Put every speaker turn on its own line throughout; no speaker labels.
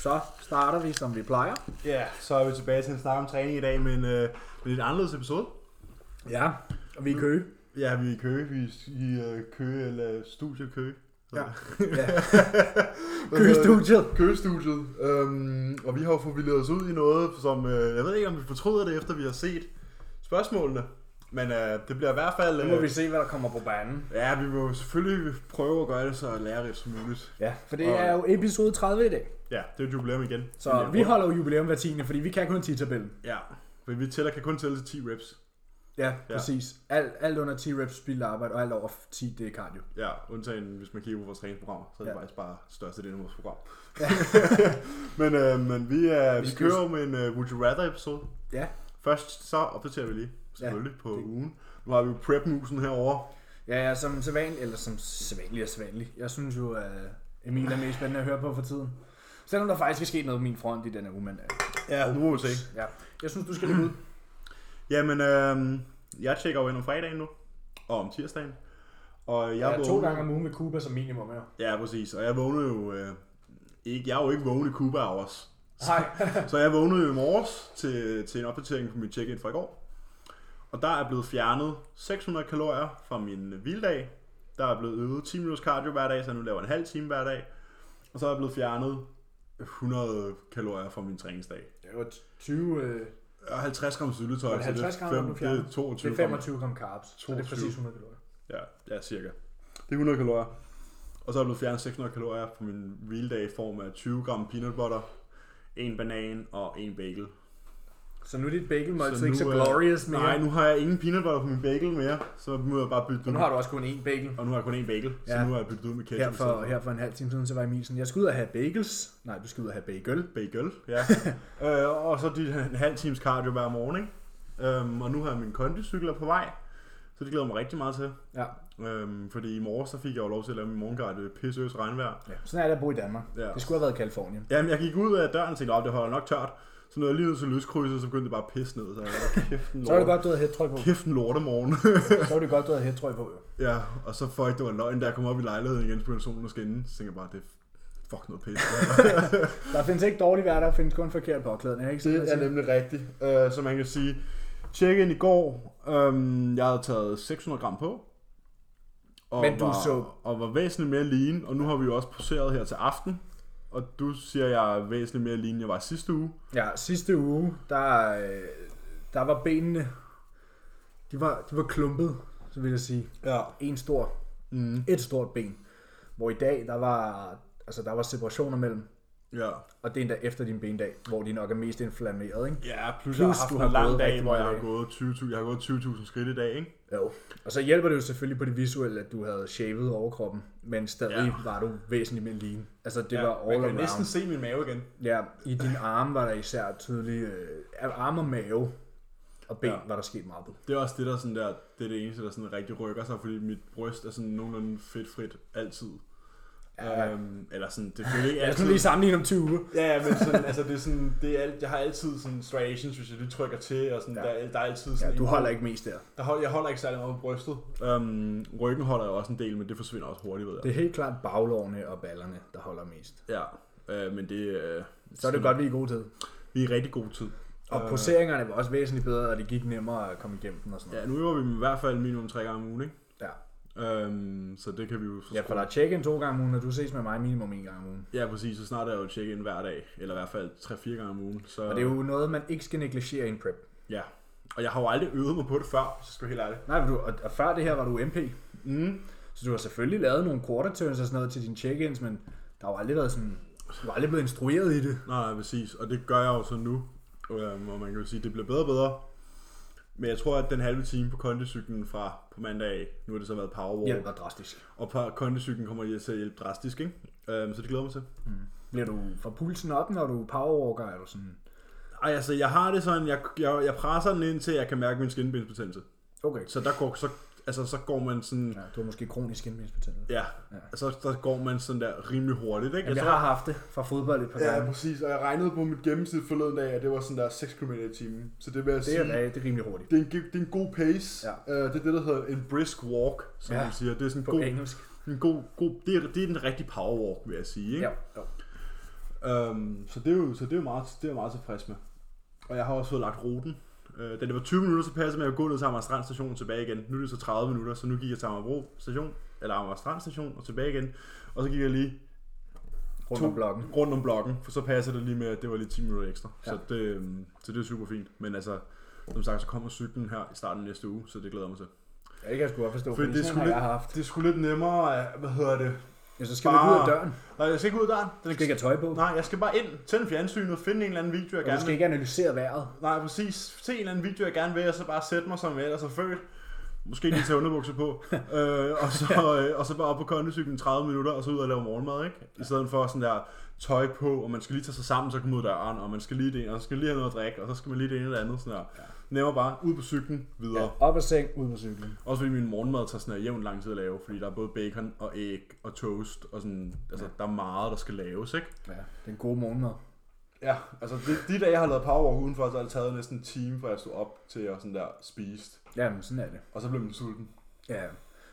Så starter vi, som vi plejer.
Ja, så er vi tilbage til en snak om træning i dag, men øh, med en anderledes episode.
Ja, og vi er i kø.
Ja, vi er i Køge, vi er i øh, Køge, eller Studie Køge.
Ja. Ja.
ja.
Køstudiet.
Køgestudiet. Øhm, og vi har jo forvildet os ud i noget, som øh, jeg ved ikke, om vi fortryder det, efter vi har set spørgsmålene. Men øh, det bliver i hvert fald...
Nu må vi se, hvad der kommer på banen.
Ja, vi må selvfølgelig prøve at gøre det så lærerigt som muligt.
Ja, for det er jo episode 30 i dag.
Ja, det er et jubilæum igen.
Så vi holder jo jubilæum hver tiende, fordi vi kan kun 10-tabellen.
Ja, men vi tæller, kan kun tælle til 10 reps.
Ja, præcis. Alt, alt under 10 reps spildt arbejde, og alt over 10, det er cardio.
Ja, undtagen hvis man kigger på vores træningsprogrammer, så er det
Ja.
ja. faktisk bare største del af vores program.
Ja.
Ja. men, øh, men vi, øh, vi, vi
skal-
kører jo med en øh, Would You Rather episode.
Ja,
Først så opdaterer vi lige, selvfølgelig, ja, på
det-
ugen. Nu har vi jo prep-musen herovre.
ja, ja som sædvanlig, eller som sædvanlig og sædvanlig. Jeg synes jo, at øh, Emil er mest spændende at høre på for tiden. Selvom der faktisk er sket noget på min front i den her uge, men øh,
Ja, nu må vi se.
ja. Jeg synes, du skal lægge ud.
Jamen, øh, jeg tjekker jo ind om fredagen nu, og om tirsdagen. Og jeg
Jeg ja, to
vågnede-
gange om ugen med Cuba som minimum her.
Ja, præcis. Og jeg vågnede jo... Øh, ikke, jeg er jo ikke vågen i Cuba hours.
Hej.
Så jeg vågnede jo i morges til, til en opdatering på min check-in fra i går. Og der er blevet fjernet 600 kalorier fra min hviledag. Der er blevet øget 10 minutters cardio hver dag, så jeg nu laver en halv time hver dag. Og så er jeg blevet fjernet 100 kalorier fra min træningsdag.
Det var 20... Øh,
Og 50 gram syltetøj,
Var det 50 gram, der blev
det er
fjernet?
22
det er
gram.
25 gram carbs, så det er
22.
præcis 100 kalorier.
Ja, ja, cirka. Det er 100 kalorier. Og så er jeg blevet fjernet 600 kalorier på min hviledag i form af 20 gram peanut butter, en banan og en bagel.
Så nu er dit bagelmåltid
nu
ikke så
er-
glorious mere.
Nej, nu har jeg ingen peanut butter på min bagel mere, så må jeg bare bytte
Og
den
nu
ud.
har du også kun én bagel.
Og nu har jeg kun én bagel, så
Ja.
nu har jeg byttet ud med ketchup.
Her for,
i stedet
her for en halv time siden, så var Emil sådan, jeg skal ud og have bagels. Nej, du skal ud og have bagel.
Bagel, ja. øh, og så de, en halv times cardio hver morgen, ikke? Øhm, og nu har jeg min kondicykler på vej, så det glæder jeg mig rigtig meget til.
Ja.
Øhm, fordi i morges, så fik jeg jo lov til at lave min morgengarde i pisseøs regnvejr.
ja. Sådan er det at bo i Danmark.
Ja.
Det skulle have været i Kalifornien.
Jamen, jeg gik ud af døren og tænkte, at det holder nok tørt. Så nåede jeg lige ud til lyskrydset, så begyndte det bare at pisse ned. Så jeg var kæft en
Så var det
lorte,
godt, du havde hættrøj på.
kæft en lortemorgen.
Så var det godt, du havde hættrøj på. jo.
Ja, og så for ikke det var løgn, da jeg kom op i lejligheden igen, så begyndte solen at skinne. Så tænkte jeg bare, det er fuck noget pis.
Der findes ikke dårlig vejr, der findes kun forkert påklædning. Ikke? Sådan,
det er
man siger.
nemlig rigtigt. Uh, så man kan sige, tjekke ind i går. Um, jeg havde taget 600 gram på. Og
Men du
var,
så-
Og var væsentligt mere lean, og nu har vi jo også poseret her til aften. Og du siger, jeg er væsentligt mere lean, end jeg var sidste uge.
Ja, sidste uge, der, øh, der var benene, de var, de var klumpet, så vil jeg sige.
Ja.
en stor, mm. et stort ben. Hvor i dag, der var, altså, der var separationer mellem,
Ja.
og det er endda efter din bendag, hvor de nok er mest inflammeret, ikke?
Ja, plus,
Plus,
jeg har haft
du
en
har gået
lang dag,
rigtig
hvor
meget
jeg har
af.
gået 20.000 jeg har gået 20.000 skridt i dag, ikke?
Jo. Og så hjælper det jo selvfølgelig på det visuelle, at du havde shavet overkroppen, men stadig
Ja.
var du væsentligt mere lean. Altså det ja, var all around. Næsten...
se min mave igen.
Ja, i din arme var der især tydeligt, øh, arme og mave og ben ja.
Ja.
var der sket meget på.
Det er også det, der sådan der, det er det eneste, der sådan rigtig rykker sig, fordi mit bryst er sådan nogenlunde fedtfrit altid.
Ja.
Ja. Øhm, eller sådan, det føler ikke
Jeg
altid.
kan Altså, lige sammenligne om 20 uger.
Ja, ja, men sådan, altså det er sådan, det er alt, jeg har altid sådan striations, hvis jeg lige trykker til, og sådan,
Ja.
ja. der, er- der er altid sådan
Ja,
en-
du holder ikke mest der.
Der hold, jeg holder ikke særlig meget på brystet. Øhm, ryggen holder jeg også en del, men det forsvinder også hurtigt, ved jeg.
Det er helt klart baglårene og ballerne, der holder mest.
Ja, øh, men det, øh,
Så er det godt, vi er i god tid.
vi er i rigtig god tid.
Og poseringerne var også væsentligt bedre, og det gik nemmere at komme igennem den og sådan noget.
Ja, nu øver vi dem i hvert fald minimum tre gange om ugen, ikke?
Ja,
Øhm, så det kan vi jo så
ja for der er check-in to gange om ugen, og du ses med mig minimum en gang om ugen.
ja, præcis. Så snart er jeg jo check-in hver dag, eller i hvert fald 3-4 gange om ugen. Så,
Og det er jo noget, man ikke skal negligere i en prep.
Ja. Og jeg har jo aldrig øvet mig på det før, så skal jeg være helt
Nej, men du, og, og før det her var du MP,
ærlig. Mm.
så du har selvfølgelig lavet nogle quarter turns og sådan noget til dine check-ins, men der har jo aldrig været sådan... Du har aldrig blevet instrueret i det.
Nej, nej, præcis. Og det gør jeg jo så nu. Øhm, og man kan jo sige, at det bliver bedre og bedre. Men jeg tror, at den halve time på kondicyklen fra på mandag, af, nu har det så været powerwalk.
Hjælper drastisk.
Og på kondicyklen kommer jeg til at hjælpe drastisk, ikke? Øhm, så det glæder jeg mig til.
Bliver du fra pulsen op, når du powerwalker? Er du sådan...
Ej, altså, jeg har det sådan, jeg, jeg, jeg presser den ind til, jeg kan mærke min skinbindsbetændelse.
Okay.
Så der går, så, altså, så går man sådan...
Ja, du har måske kronisk indmændsbetændelse.
Ja, så der går man sådan der rimelig hurtigt, ikke? Altså,
Jamen, jeg har haft det fra fodbold et par
ja,
gange.
præcis, og jeg regnede på mit gennemsnit forleden dag, at det var sådan der 6 km i timen. Så det vil jeg
Det
sige,
er, det er rimelig hurtigt.
det er, en, det er en god pace.
Ja.
Øh, det er det, der hedder en brisk walk, som
Ja.
man siger. Det er sådan en
På
god,
engelsk.
en god, god det, er, det er den rigtige power walk, vil jeg sige. Ikke?
Ja.
Øhm, så det er jo, så det er jo meget, det er jeg meget tilfreds med. Og jeg har også fået lagt ruten. Øh, da det var 20 minutter, så passede det med at gå ned til Amager Strand station og tilbage igen. Nu er det så 30 minutter, så nu gik jeg til Amagerbro station, eller Amager Strand station og tilbage igen. Og så gik jeg lige
Rundt om blokken.
rundt om blokken, for så passer det lige med, at det var lige 10 minutter ekstra. Ja.
Ja.
Så, det, øhm, så det er super fint. Men altså, som sagt, så kommer cyklen her i starten af næste uge, så det glæder jeg mig til.
Ja, det kan jeg sgu godt forstå, fordi,
Fordi det
det
skulle
skulle... jeg har haft.
Det er sgu lidt nemmere, øh, hvad hedder det?
Ja, så skal Bare... vi ikke ud af
Bare-
døren.
Nej, jeg skal ikke ud af døren.
Du
Den
skal ikke have tøj på.
Ah. Nej, jeg skal bare ind, tænde fjernsynet, finde en eller anden video, jeg
og du
gerne
skal
vil.
ikke analysere vejret.
Nej, præcis. Se en eller anden video, jeg gerne vil, og så bare sætte mig som jeg ellers er født. Måske lige tage underbukser på. øh, og, så, øh, og så bare op på kondicyklen 30 minutter, og så ud og lave morgenmad, ikke? I stedet for sådan der tøj på, og man skal lige tage sig sammen, så komme ud af døren, og man skal lige det ene, og så skal man lige have noget at drikke, og så skal man lige det ene eller andet, sådan der. Nemmere bare ud på cyklen, videre.
Ja,
Ja.
op af seng, ud på cyklen.
Også fordi min morgenmad tager sådan her jævn lang tid at lave, fordi der er både bacon og æg og toast, og sådan, altså der er meget, der skal laves, ikke?
Ja, den gode morgenmad.
Ja, altså de, de dage, jeg har lavet power udenfor, så har det taget næsten en time, før jeg stod op til at sådan der spiste.
Jamen, sådan er det.
Og så blev man sulten.
Ja.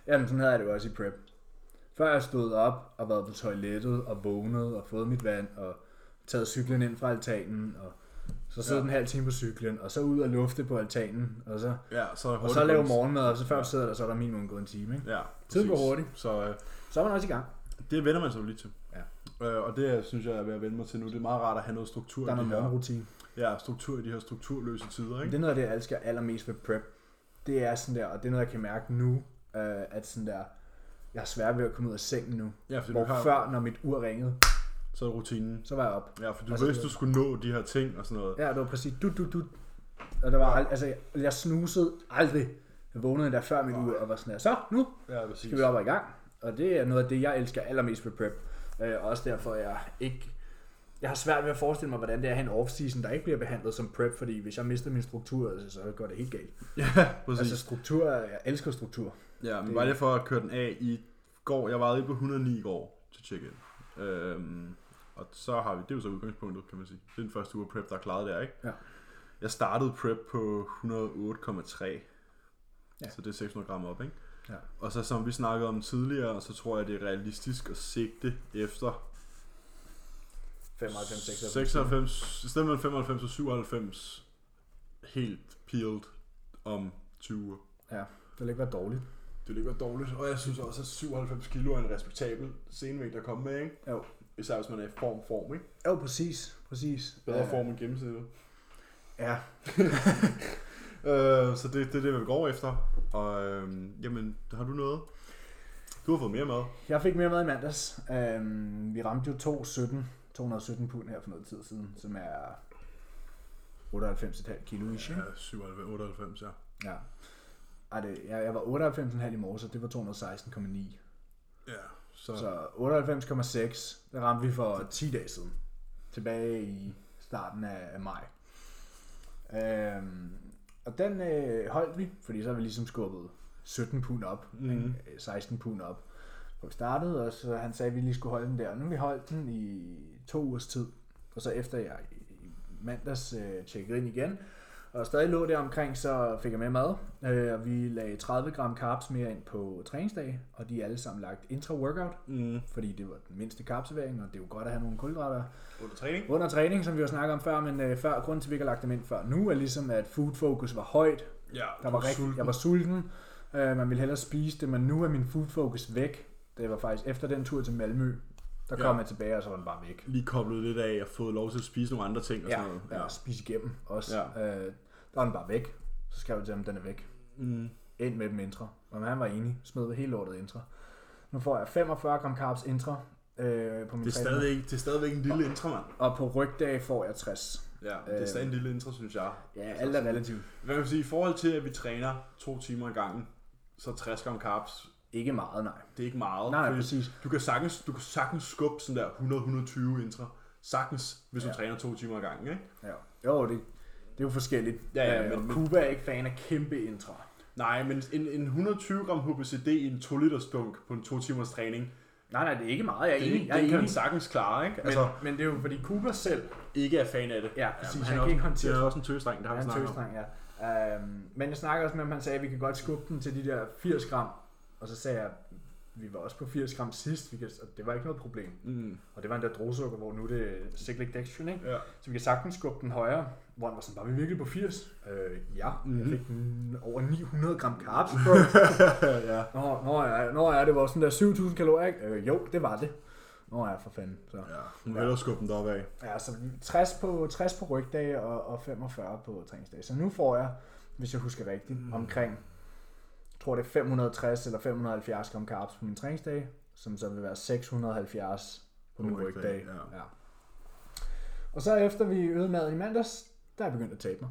Jamen, sådan havde jeg det jo også i prep. Før jeg stod op og været på toilettet og vågnet og fået mit vand og taget cyklen ind fra altanen og så sidde
Ja.
ja. en halv time på cyklen og så ud og lufte på altanen og så,
Ja, så
og så lave morgenmad og så før du sidder der, så er der minimum gået en time. Ikke?
Ja,
Tiden går
præcis.
hurtigt.
Så øh,
Så er man også i gang.
det vender man sig jo lige til.
Ja.
Øh, og det synes jeg, jeg er ved at vende mig til nu. Det er meget rart at have noget struktur,
Der er
i, de
noget
her,
morgenrutine.
ja, struktur i de her strukturløse tider.
Men
Ikke?
Det er noget af det, jeg elsker allermest ved prep. Det er sådan der, og det er noget, jeg kan mærke nu, øh, at sådan der, jeg har svært ved at komme ud af sengen nu.
Ja, fordi
Hvor
du har,
før, når mit ur ringede,
så er det rutinen.
så var jeg op.
Ja, for du
Altså,
vidste, du skulle nå de her ting og sådan noget.
Ja, det var præcis du, du, du. Og der var ald- altså, jeg- jeg snusede aldrig. Jeg vågnede endda før mit ur og var sådan her, så nu
Ja, præcis.
skal vi op og i gang. Og det er noget af det, jeg elsker allermest ved prep. Øh, også derfor, jeg ikke... Jeg har svært ved at forestille mig, hvordan det er at have en off-season, der ikke bliver behandlet som prep, fordi hvis jeg mister min struktur, altså, så går det helt galt.
Ja, præcis.
Altså struktur, jeg elsker struktur.
Ja, men
Det-
bare lige for at køre den af i går. Jeg vejede ikke på 109 i går til check-in. Øhm, og så har vi, det er jo så udgangspunktet, kan man sige. Det er den første uge af prep, der er klaret der, ikke?
Ja.
Jeg startede prep på 108,3.
Ja.
Ja. Så det er 600 gram op, ikke?
Ja.
Og så som vi snakkede om tidligere, så tror jeg, det er realistisk at sigte efter
95, 96.
96, i stedet mellem 95 og 97, helt peeled om 20 uger.
Ja, det ville ikke være dårligt.
Det ligger dårligt, og jeg synes også, at 97 kilo er en respektabel senvægt at komme med, ikke?
Jo.
Især hvis man er i form, form, ikke?
Jo, præcis. præcis.
Bedre
Ja.
form end gennemsnittet.
Ja,
Øh, så det, det er det, vi går efter. Og øhm, jamen, har du noget? Du har fået mere mad.
Jeg fik mere mad i mandags. Øhm, vi ramte jo 217, 217 pund her for noget tid siden, som er 98,5 kilo ish. ikke?
97, 98, ja.
Ja. Ej, det, jeg, jeg var 98,5 i morges, og det var 216,9.
Ja,
Så 98,6, det ramte vi for 10 dage siden. Tilbage i starten af, af maj. Øhm, og den øh, holdt vi, fordi så har vi ligesom skubbet 17 pund op,
Mhm.
mm. 16 pund op. Så vi startede, og så han sagde, at vi lige skulle holde den der. Og nu har vi holdt den i to ugers tid. Og så efter jeg i mandags øh, tjekkede ind igen, og stadig lå der omkring, så fik jeg med mad. Øh, og vi lagde 30 gram carbs mere ind på træningsdag, og de er alle sammen lagt intra-workout
Mm.
fordi det var den mindste karpservering, og det er jo godt at have nogle kulhydrater
Under træning?
under træning, som vi jo snakket om før, men øh, før, grunden til, at vi ikke har lagt dem ind før nu, er ligesom, at food focus var højt.
Ja,
Der var rigtig, jeg var sulten, øh, man ville hellere spise det, men nu er min food focus væk. Det var faktisk efter den tur til Malmø, der
Ja.
kom jeg tilbage, og så var den bare væk.
lige koblet lidt af og fået lov til at spise nogle andre ting og
Ja,
sådan noget.
ja. og spise igennem også.
Ja.
Øh, der var den bare væk. Så skrev jeg til ham, den er væk.
Mm.
ind med dem intra. Og han var enig, smed hele lortet intra. Nu får jeg 45 gram carbs intra øh, på min
Det, er
træning.
stadigvæk, det er stadigvæk en lille intro, mand.
Og på rygdag får jeg 60.
Ja, det
Øh.
er stadig en lille intro, synes jeg.
Ja, alt er relativt.
Hvad kan man sige, i forhold til, at vi træner to timer ad gangen, så 60 gram carbs,
Ikke meget, nej.
det er ikke meget.
Nej,
fordi
præcis.
du kan sagtens, du kan sagtens skubbe sådan der 100-120 intra, sagtens, hvis du
Ja.
træner to timer ad gangen, ikke?
Ja. Jo, det, det er jo forskelligt.
Ja, ja,
Øh,
men-
og
men-
Cuba er ikke fan af kæmpe intra.
Nej, men en, en 120 gram HBCD i en 2 liters dunk på en 2 timers træning,
Nej, nej, det er ikke meget. Jeg er
det,
enig. Jeg er
det kan man
enig.
sagtens klare, ikke?
Men, altså, men det er jo fordi Cuba selv
ikke er fan af det.
Ja, præcis.
men
Han
er
kan ikke
også-
håndtere
Det er
det.
også en tøsdreng, det har
er
vi
en
snakket om.
tøsdreng, ja. Øhm, men jeg snakkede også med ham, han sagde, at vi kan godt skubbe den til de der 80 gram. Og så sagde jeg, vi var også på 80 gram sidst, vi kan, og det var ikke noget problem.
Mm.
Og det var en der drosukker, hvor nu er det cyclic dextrin, ikke?
Ja.
Så vi kan sagtens skubbe den højere, hvor han var sådan, var vi virkelig på 80? Øh, ja, mm-hmm. jeg fik den over 900 gram carbs, bro.
ja.
Nå, nå, ja, nå ja, det var sådan der 7000 kalorier, ikke? Øh, jo, det var det. Nå ja, for fanden. Så.
ja. Hun vil hellere skubbe den deroppe af.
Ja, så 60 på, 60 på rygdage og, og 45 på træningsdage. Så nu får jeg, hvis jeg husker rigtigt, mm. omkring, jeg tror det er 560 eller 570 gram carbs på min træningsdag, som så vil være 670 på min
rygdage,
rygdag.
ja.
ja. Og så efter vi øvede maden i mandags, der er jeg begyndt at tabe mig.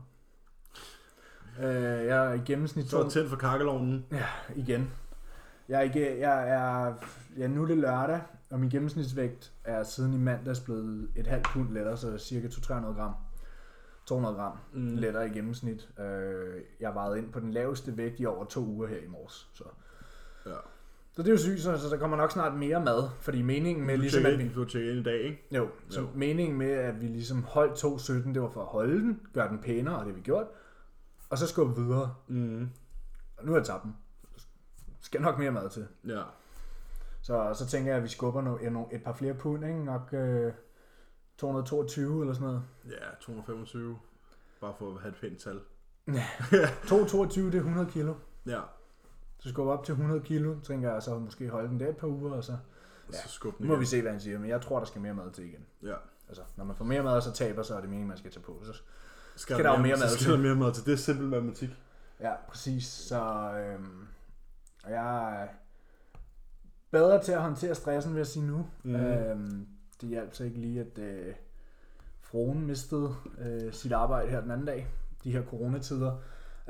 Øh, jeg er i gennemsnit
Så er
to-
der tændt for kakkelovnen.
Ja, igen. Jeg er, ikke, jeg er, jeg er nu er det lørdag, og min gennemsnitsvægt er siden i mandags blevet et halvt pund lettere, så cirka 200-300 gram. 200 gram mm. lettere i gennemsnit. Øh, jeg vejede ind på den laveste vægt i over to uger her i morges. Så,
Ja.
så det er jo sygt, så, så der kommer nok snart mere mad, fordi meningen med
Du
ligesom at
tjekker
vi...
ind, du tjekker ind i dag, ikke?
Jo, så
Jo.
meningen med, at vi ligesom holdt 2.17, det var for at holde den, gøre den pænere, og det har vi gjort, og så skubbe videre.
Mm.
Og nu har jeg tabt den. Skal nok mere mad til.
Ja.
Så, så tænker jeg, at vi skubber no, ja, no, et par flere pund, ikke? nok øh, 222 eller sådan noget.
Ja, 225. Bare for at have et pænt tal.
222, det er 100 kilo.
Ja.
Så skubber op til 100 kilo, tænker jeg så måske holde den der et par uger, og så
Og så skubbe den
nu må
igen.
vi se, hvad han siger, men jeg tror, der skal mere mad til igen.
Ja.
Altså, når man får mere mad og så taber, så er det meningen, man skal tage på. Så,
Skal,
der jo mere mad
så skal
til.
der mere mad til. Det er simpel matematik.
ja, præcis. Så øhm, og jeg er bedre til at håndtere stressen, vil jeg sige nu. Mm. Øhm, det hjalp så ikke lige, at øh, fruen mistede øh, sit arbejde her den anden dag, de her coronatider.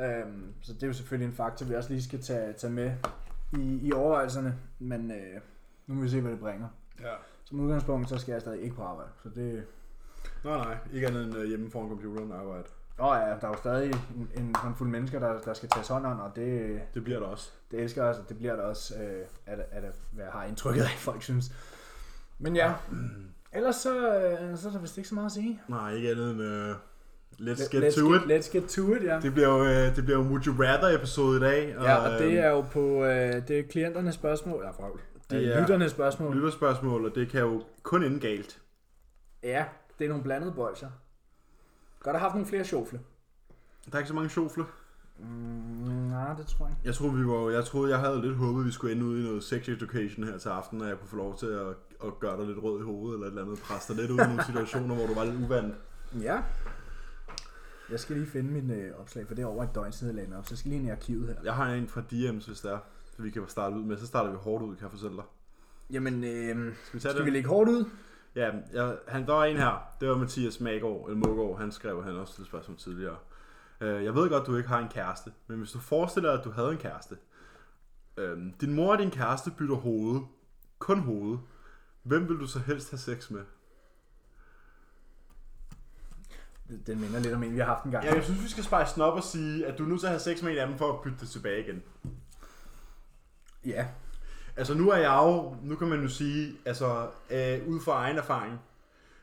Øhm, så det er jo selvfølgelig en faktor, vi også lige skal tage, tage med i, i overvejelserne, men øh, nu må vi se, hvad det bringer.
Ja.
Som udgangspunkt, så skal jeg stadig ikke på arbejde, så det...
Nej, nej. Ikke andet end øh, hjemme foran computeren og arbejde.
Åh ja, der er jo stadig en, en håndfuld mennesker, der, der skal tages hånd om, og det,
Det bliver der også.
det elsker jeg også, og det bliver der også, øh, at, at, at, hvad jeg har indtrykket af, folk synes. Men ja, ellers så, øh, så er der vist ikke så meget at sige.
Nej, ikke andet end... Uh, let's
Let-
get to
get,
it.
Let's get to it, ja.
Det bliver jo, øh, det bliver jo Would You Rather episode i dag.
Ja, og det
øh,
er jo på øh, det er klienternes spørgsmål. Ja, fragl.
Det
Det er
er-
lytternes spørgsmål.
lytterspørgsmål, og det kan jo kun ende galt.
Ja, det er nogle blandede bolcher. Godt at have haft nogle flere sjofle.
Der er ikke så mange sjofle.
Mm, nej, det tror jeg ikke.
Jeg troede, vi var, jeg troede, jeg havde lidt håbet, at vi skulle ende ud i noget sex education her til aften, og jeg kunne få lov til at, at gøre dig lidt rød i hovedet, eller et eller andet, presse dig lidt ud i nogle situationer, hvor du var lidt uvandt.
Ja. Jeg skal lige finde min øh, opslag, for det er over et døgn siden, jeg lagde den op, så jeg skal lige ind i arkivet her.
Jeg har en fra DM's, hvis det er, så vi kan starte ud med. Så starter vi hårdt ud, kan jeg fortælle dig.
Jamen, øh,
Skal vi tage
skal
det?
vi lægge hårdt ud?
Ja, jeg, han, der var en her. Det var Mathias Magård, eller Mogård. Han skrev, han også til spørgsmål tidligere. Øh, jeg ved godt, du ikke har en kæreste, men hvis du forestiller dig, at du havde en kæreste. Øh, din mor og din kæreste bytter hoved. Kun hoved. Hvem vil du så helst have sex med?
Den minder lidt om en, vi har haft en gang.
Ja, jeg synes, vi skal spejse den op og sige, at du er nødt til at have sex med en anden for at bytte det tilbage igen.
ja.
Altså nu er jeg jo, nu kan man jo sige, altså øh, ud fra egen erfaring,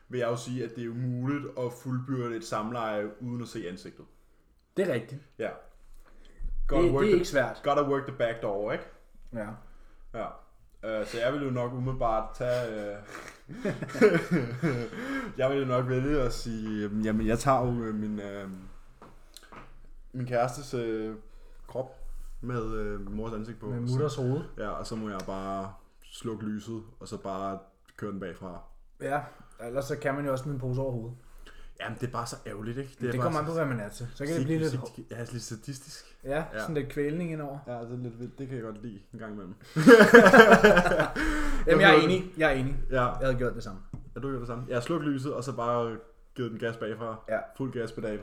vil jeg jo sige, at det er umuligt at fuldbyrde et samleje uden at se ansigtet.
det er rigtigt.
Ja.
Det,
Godt work,
det er
the,
ikke svært.
gotta work the back door, ikke?
Ja.
Ja. Øh, så jeg ville jo nok umiddelbart tage... Øh... jeg ville jo nok vælge at sige, øh, jamen jeg tager jo øh, min, øh, min kærestes øh, krop med øh, min mors ansigt på.
Med
Så-
mutters hoved.
Ja, og så må jeg bare slukke lyset, og så bare køre den bagfra.
Ja, ellers så kan man jo også smide en pose over hovedet.
Jamen, det er bare så ærgerligt, ikke?
Det, det kommer an på, hvad man er til. Så kan det blive lidt, hår-
Ja, det er lidt sadistisk.
ja,
Ja.
sådan lidt kvælning indover.
Ja, det er lidt vildt. Det kan jeg godt lide en gang imellem.
Jamen, jeg er
Hvad hedder
enig. Jeg er enig.
Ja,
Jeg havde gjort det samme.
er du gjort det samme? Jeg har slukket lyset, og så bare givet den gas bagfra.
Ja.
Fuld gaspedal.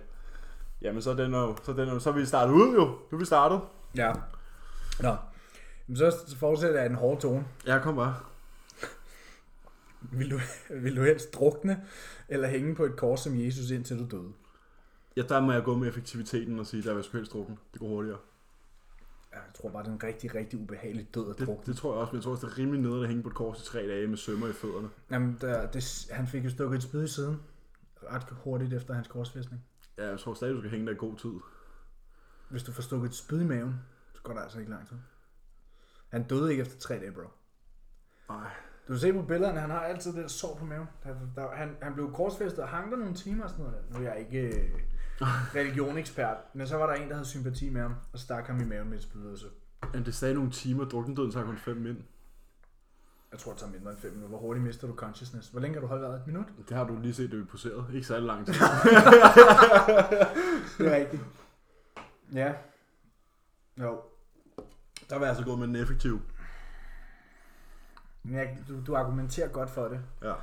Jamen, så er den jo, så er den jo, så er vi startet ud jo. Nu er vi startet.
Ja. Nå. Men så fortsætter jeg i den hårde tone.
Ja, kom bare.
Vil du, vil du helst drukne eller hænge på et kors som Jesus, indtil du døde?
Ja, der må jeg gå med effektiviteten og sige, der vil jeg sgu helst drukken. Det går hurtigere.
Ja, Jeg tror bare, det er en rigtig, rigtig ubehagelig død at
Det,
drukne.
det tror jeg også, men jeg tror også, det er rimelig nede at hænge på et kors i tre dage med sømmer i fødderne.
Jamen, der, det, han fik jo stukket et spyd i siden ret hurtigt efter hans korsfæstning.
Ja, jeg tror stadig, du skal hænge der i god tid.
Hvis du får stukket et spyd i maven, så går der altså ikke lang tid. Han døde ikke efter tre dage, bro.
Nej.
Du kan se på billederne, han har altid det der sår på maven. Han, der, han, han blev korsfæstet og hang der nogle timer og sådan noget. Nu er jeg ikke øh, religionekspert, men så var der en, der havde sympati med ham, og stak ham i maven med et spydøse.
Men det er stadig nogle timer, druknedøden tager kun 5 mænd.
Jeg tror, det tager mindre end 5 minutter. Hvor hurtigt mister du consciousness? Hvor længe kan du holde vejret? Et minut?
Det har du lige set, det vi poseret. Ikke særlig lang tid.
Det er rigtigt. Ja. Jo.
Der var jeg altså gået med den effektive.
Men jeg, du, du argumenterer godt for det.
Ja.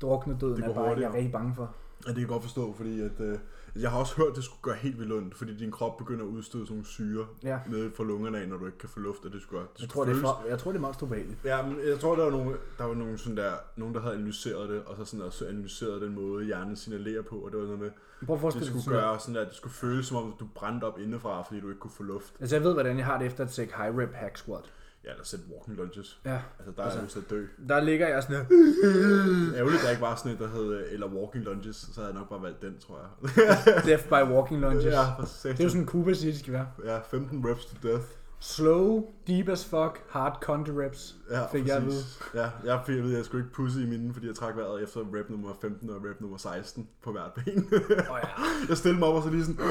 Drukne døden
Det
er
går
bare, jeg er
hurtigere.
rigtig bange for.
Ja, det kan jeg godt forstå, fordi at, øh, jeg har også hørt, at det skulle gøre helt vildt ondt, fordi din krop begynder at udstøde sådan nogle syre
Ja.
nede fra lungerne af, når du ikke kan få luft, og det skulle, det
Jeg
skulle
tror, det er,
føles-
for, jeg tror, det er meget ubehageligt.
Ja, men jeg tror, der var nogen, der, var nogen, sådan der, nogen, der havde analyseret det, og så sådan der, analyseret den måde, hjernen signalerer på, og det var noget med,
Prøv at
det
forestille dig
skulle
sådan
gøre sådan der, det skulle føles som om, du brændte op indefra, fordi du ikke kunne få luft.
Altså, jeg ved, hvordan jeg har det efter at sække high rep hack squat.
Ja, eller sæt walking lunges.
Ja.
Altså, der er jeg lyst til at dø.
Der ligger jeg sådan her.
Ærgerligt, der ikke var sådan et, der hed, øh, eller walking lunges, så havde jeg nok bare valgt den, tror jeg.
Death by walking lunges.
ja,
ja.
for
Det er jo
satan.
sådan, Cuba siger, det skal være.
Ja, 15 reps to death.
Slow, deep as fuck, hard contra reps.
Ja,
Fik jeg at vide.
Ja, jeg fik at vide, at jeg skulle ikke pusse i mine, fordi jeg trak vejret efter rep nummer 15 og rep nummer 16 på hvert ben.
Åh ja.
jeg stillede mig op og så lige sådan... Så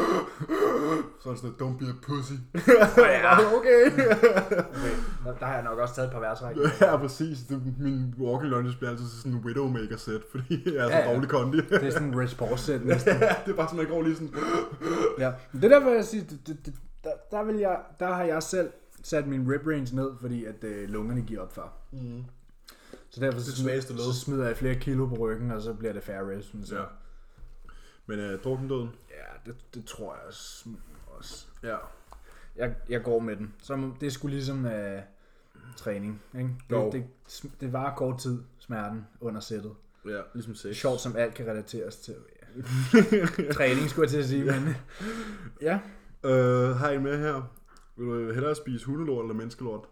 er det sådan, noget, don't be a pussy.
okay. okay. Der- Der har jeg nok også taget et par værtræk.
ja, præcis. Det, min walking lunges bliver altid sådan en widowmaker set, fordi jeg er så
Ja, ja.
dårlig kondi.
Det er sådan en response set næsten.
det er bare sådan, at jeg går lige sådan...
Ja. Men Det der vil jeg sige, det, det, det, der, der, vil jeg, der har jeg selv sat min rep range ned, fordi at øh, lungerne giver op før.
Mm.
Så derfor så,
Det svageste
smider,
led.
så smider jeg flere kilo på ryggen, og så bliver det færre reps. Men så,
Ja. Men øh, drukkendøden?
ja det, det, tror jeg også. også.
Ja.
Jeg, jeg går med den. Så må- det skulle ligesom øh, træning. Ikke?
Jo.
Det, det, sm- det varer kort tid, smerten under sættet.
Ja, ligesom
Det
sex.
er sjovt, som alt kan relateres til. Træning, skulle jeg til at sige, men... Ja,
Øh, har I med her? Vil du hellere spise hundelort eller menneskelort?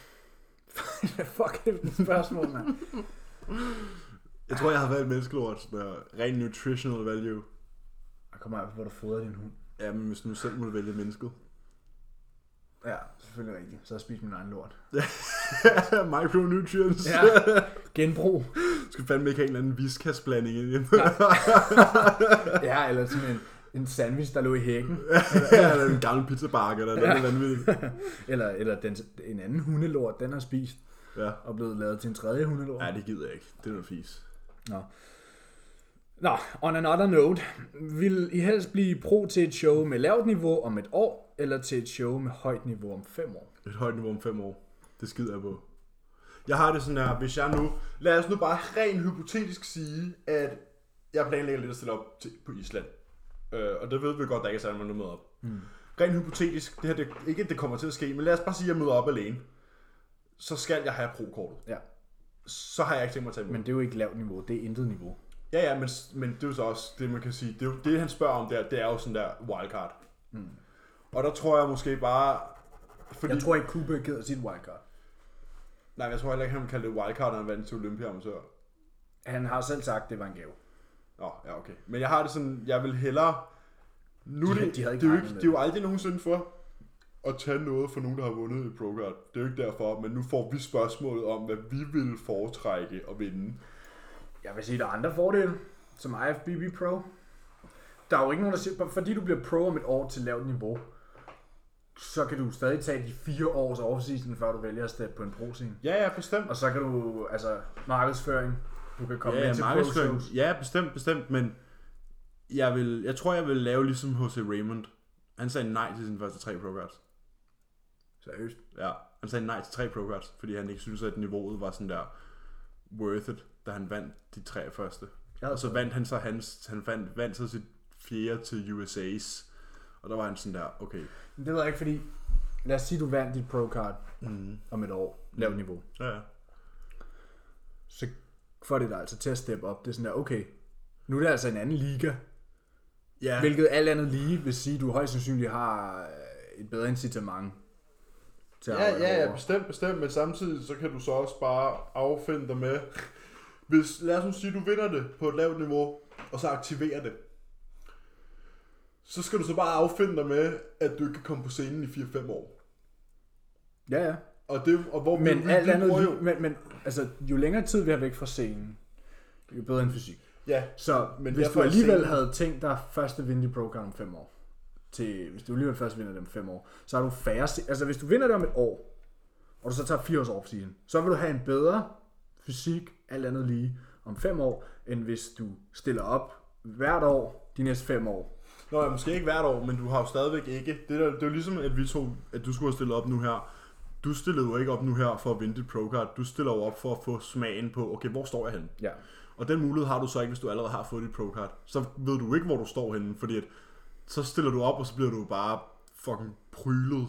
fuck det er et spørgsmål, mand.
Jeg tror, jeg har valgt menneskelort, der ren nutritional value.
Jeg kommer af på, hvor du fodrer din hund.
Ja, men hvis du nu selv måtte vælge mennesket.
Ja, selvfølgelig rigtigt. Så har jeg spist min egen lort.
Micronutrients.
Ja. Genbrug.
Du skal fandme ikke have en eller anden viskas-blanding ind i den.
Ja, eller sådan en, en sandwich, der lå i hækken.
Eller en gammel pizzabakke, eller noget ja. vanvittigt.
Eller, eller den, en anden hundelort, den har spist
Ja.
og blevet lavet til en tredje hundelort.
ja, det gider jeg ikke. Det er noget fis.
Nå. Nå, on another note. Vil I helst blive pro til et show med lavt niveau om et år, eller til et show med højt niveau om fem år?
Et højt niveau om fem år. Det skider jeg på. Jeg har det sådan her, hvis jeg nu... Lad os nu bare rent hypotetisk sige, at jeg planlægger lidt at stille op til, på Island. Øh, og det ved vi godt, der ikke er særlig mange, der møder op. Mm. Rent hypotetisk, det her, det, ikke at det kommer til at ske, men lad os bare sige, at jeg møder op alene. Så skal jeg have pro-kortet.
Ja,
Så har jeg ikke tænkt mig at tage imod.
men det er jo ikke lavt niveau, det er intet niveau.
Ja, ja, men, men det er jo så også det, man kan sige. Det, er jo, det han spørger om der, det er jo sådan der wildcard. Mm. Og der tror jeg måske bare... Fordi,
Jeg tror ikke, Cooper gider sit wildcard.
Nej, men jeg tror heller ikke, han vil kalde det wildcard, når han vandt til Olympiamusør.
Han har selv sagt, at det var en gave.
Nå, ja, okay. Men jeg har det sådan, jeg vil hellere... Nu
De-
de, det,
de havde ikke
det, er jo
regnet
ikke,
med
det er jo aldrig nogensinde for at tage noget fra nogen, der har vundet i ProCard. Det er jo ikke derfor, men nu får vi spørgsmålet om, hvad vi vil foretrække at vinde.
Jeg vil sige, der er andre fordele, som IFBB Pro. Der er jo ikke nogen, der siger, fordi du bliver pro om et år til lavt niveau, så kan du stadig tage de fire års offseason, før du vælger at steppe på en pro-scene.
Ja, ja, bestemt.
Og så kan du, altså, markedsføring, du kan komme
ja,
med til
markedsføring.
pro-shows.
Ja, bestemt, bestemt, men jeg, vil, jeg tror, jeg vil lave ligesom H.C. Raymond. Han sagde nej til sine første tre programs.
Seriøst.
Ja, han sagde nej til tre programs, fordi han ikke synes at niveauet var sådan der worth it, da han vandt de tre første.
Ja.
Og så vandt han så hans, han vandt, vandt så sit fjerde til USA's. Og der var han sådan der, okay.
Men Det ved jeg ikke, fordi lad os sige, du vandt dit pro-card
Mm.
om et år, lavt niveau.
Ja, ja.
Så får det dig altså til at steppe op. Det er sådan der, okay, nu er det altså en anden liga,
Ja,
Hvilket alt andet lige vil sige, at du højst sandsynligt har øh, et bedre incitament til at
Ja,
arbejde
ja, ja,
hårdere.
bestemt, bestemt, men samtidig så kan du så også bare affinde dig med, hvis, lad os nu sige, du vinder det på et lavt niveau, og så aktiverer det, så skal du så bare affinde dig med, at du ikke kan komme på scenen i 4-5 år.
ja, ja.
Og, det, og hvor
Men alt andet,
bruger
lige- men, men altså, jo længere tid vi har væk fra scenen, jo bedre end fysik.
Ja,
Så
Men
men hvis
derfor
du
er
alligevel
scenen-
havde tænkt dig første vinde i program om fem år, til, hvis du alligevel først vinder dem fem år, så har du færre... se- Altså hvis du vinder det om et år, og du så tager fire års off så vil du have en bedre fysik, alt andet lige, om fem år, end hvis du stiller op hvert år de næste fem år.
Nå, ja, måske ikke hvert år, men du har jo stadigvæk ikke. Det, der, det er jo ligesom, at vi to, at du skulle have stillet op nu her. Du stillede jo ikke op nu her for at vinde dit procard. Du stiller jo op for at få smagen på, okay, hvor står jeg henne?
Ja.
Og den mulighed har du så ikke, hvis du allerede har fået dit procard. Så ved du ikke, hvor du står henne, fordi at, så stiller du op, og så bliver du bare fucking prylet.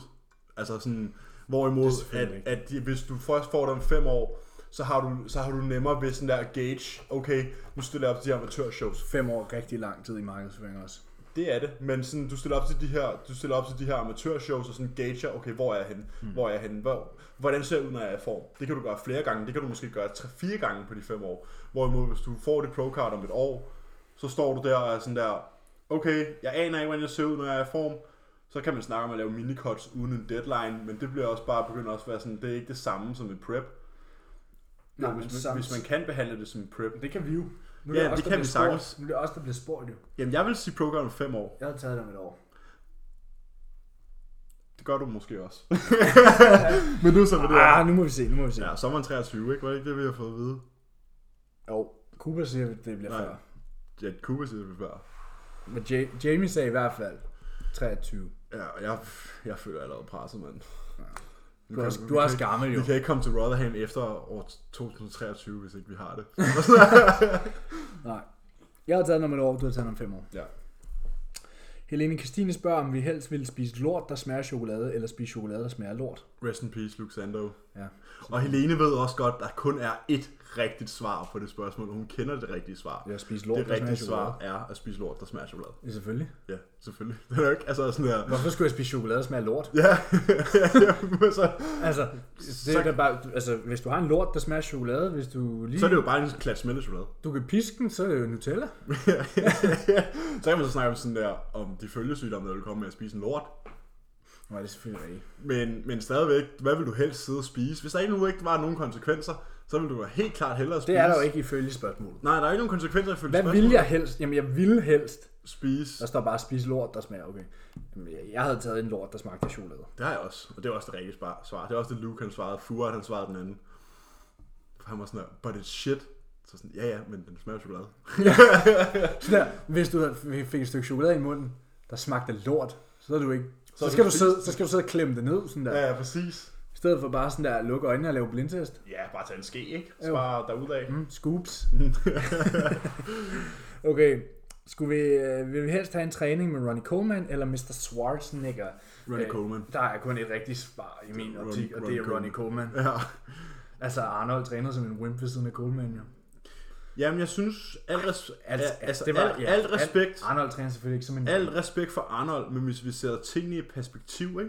Altså sådan, hvorimod,
Det er selvfølgelig
at, at de, hvis du først får dem fem år, så har du, så har du nemmere ved sådan der gauge, okay, nu stiller jeg op til de her amatørshows.
Fem år er rigtig lang tid i markedsføring også.
Det er det, men sådan, du stiller op til de her, du stiller op til de her amatørshows og sådan gager, okay, hvor er jeg henne?
Hmm.
Mm. Hvor er jeg henne? Hvor, hvordan ser jeg ud, når jeg er i form? Det kan du gøre flere gange, det kan du måske gøre 3-4 gange på de 5 år. Hvorimod, hvis du får det pro-card om et år, så står du der og er sådan der, okay, jeg aner ikke, hvordan jeg ser ud, når jeg er i form. Så kan man snakke om at lave minicuts uden en deadline, men det bliver også bare begyndt også at være sådan, det er ikke det samme som en prep.
Nej,
Jo,
men
hvis, man,
samt-
hvis man kan behandle det som en prep.
Det kan vi jo. Nu er
Ja,
os,
det
der bliver
kan vi
spurgt.
sagtens.
Nu er det også der bliver spurgt jo.
Jamen, jeg vil sige pro-card om 5 år.
Jeg havde taget det om et år.
Det gør du måske også. men nu så med det her.
Ah, nu må vi se, nu må vi se.
Ja, sommeren 23, ikke? Var det ikke det, vi har fået at vide?
Jo, Cooper siger, at det bliver
Nej.
før.
Ja, Cooper siger det før.
Men ja- Jamie sagde i hvert fald 23.
Ja, og jeg, jeg føler allerede presset, mand.
Du er, også, du er også gammel jo.
Vi kan ikke komme til Rotherham efter år 2023, hvis ikke vi har det.
Nej. Jeg har taget den om et år, du har taget den om fem år.
ja.
Helene Christine spørger, om vi helst ville spise lort, der smager af chokolade, eller spise chokolade, der smager af lort.
Rest in peace, Luke Sando.
Ja.
Og Helene ved også godt, at der kun er ét rigtigt svar på det spørgsmål. Hun kender det rigtige svar.
Jeg spiser lort,
Det
der smager af
rigtige
chokolade.
svar er at spise lort, der smager af chokolade.
Ja, selvfølgelig.
Ja, selvfølgelig. Det er jo ikke, altså sådan der...
Hvorfor skulle jeg spise chokolade, der smager af lort?
Ja, ja, ja, men så,
Altså, det
Så-
er da bare, altså, hvis du har en lort, der smager af chokolade, hvis du lige...
så er det jo bare en klat smeltechokolade.
Du kan piske den, så er det jo Nutella.
så kan man så snakke om sådan der, om de følgesygdomme, der vil komme med at spise en lort.
Nej, det er selvfølgelig rigtigt.
Men, men stadigvæk, hvad vil du helst sidde og spise? Hvis der ikke nu ikke var nogen konsekvenser, så vil du da helt klart hellere spise...
Det er der jo ikke ifølge spørgsmålet.
Nej, der er ikke nogen konsekvenser ifølge
Hvad ville jeg helst? Jamen, jeg ville helst. Der
Spise.
står bare, spise lort, der smager. Okay. Jamen, jeg- jeg havde taget en lort, der smagte af chokolade.
Det har jeg også. Og det er også det rigtige spar- svar. Det er også det, Luke han svarede. Furet han svarede den anden. For han var sådan her, but it's shit. Så sådan, ja ja, men den smager af chokolade.
Der, hvis du havde- fik et stykke chokolade i munden, der smagte af lort, så er du ikke... Så, så,
er du
skal, du
spist.
sidde, så skal du sidde og klemme det ned, sådan der. Ja.
ja, præcis.
I stedet for bare sådan der, at lukke øjnene og lave blindtest.
Ja, bare tage en ske, ikke?
Jo.
Spar derudad.
Mm, scoops. okay, skulle vi, øh, vil vi helst have en træning med Ronnie Coleman eller Mr. Schwarzenegger?
Ronnie
Øh,
Coleman.
Der er kun et rigtigt svar i min
Ron-
optik, og det
Ronnie
er Ronnie Coleman.
Ja.
Altså, Arnold træner som en wimp ved siden af Coleman, jo.
Jamen, jeg synes, al, res- al, altså, al,
ja,
al respekt...
Arnold træner selvfølgelig ikke som en
Al respekt for Arnold, men hvis vi sætter tingene i perspektiv, ikke?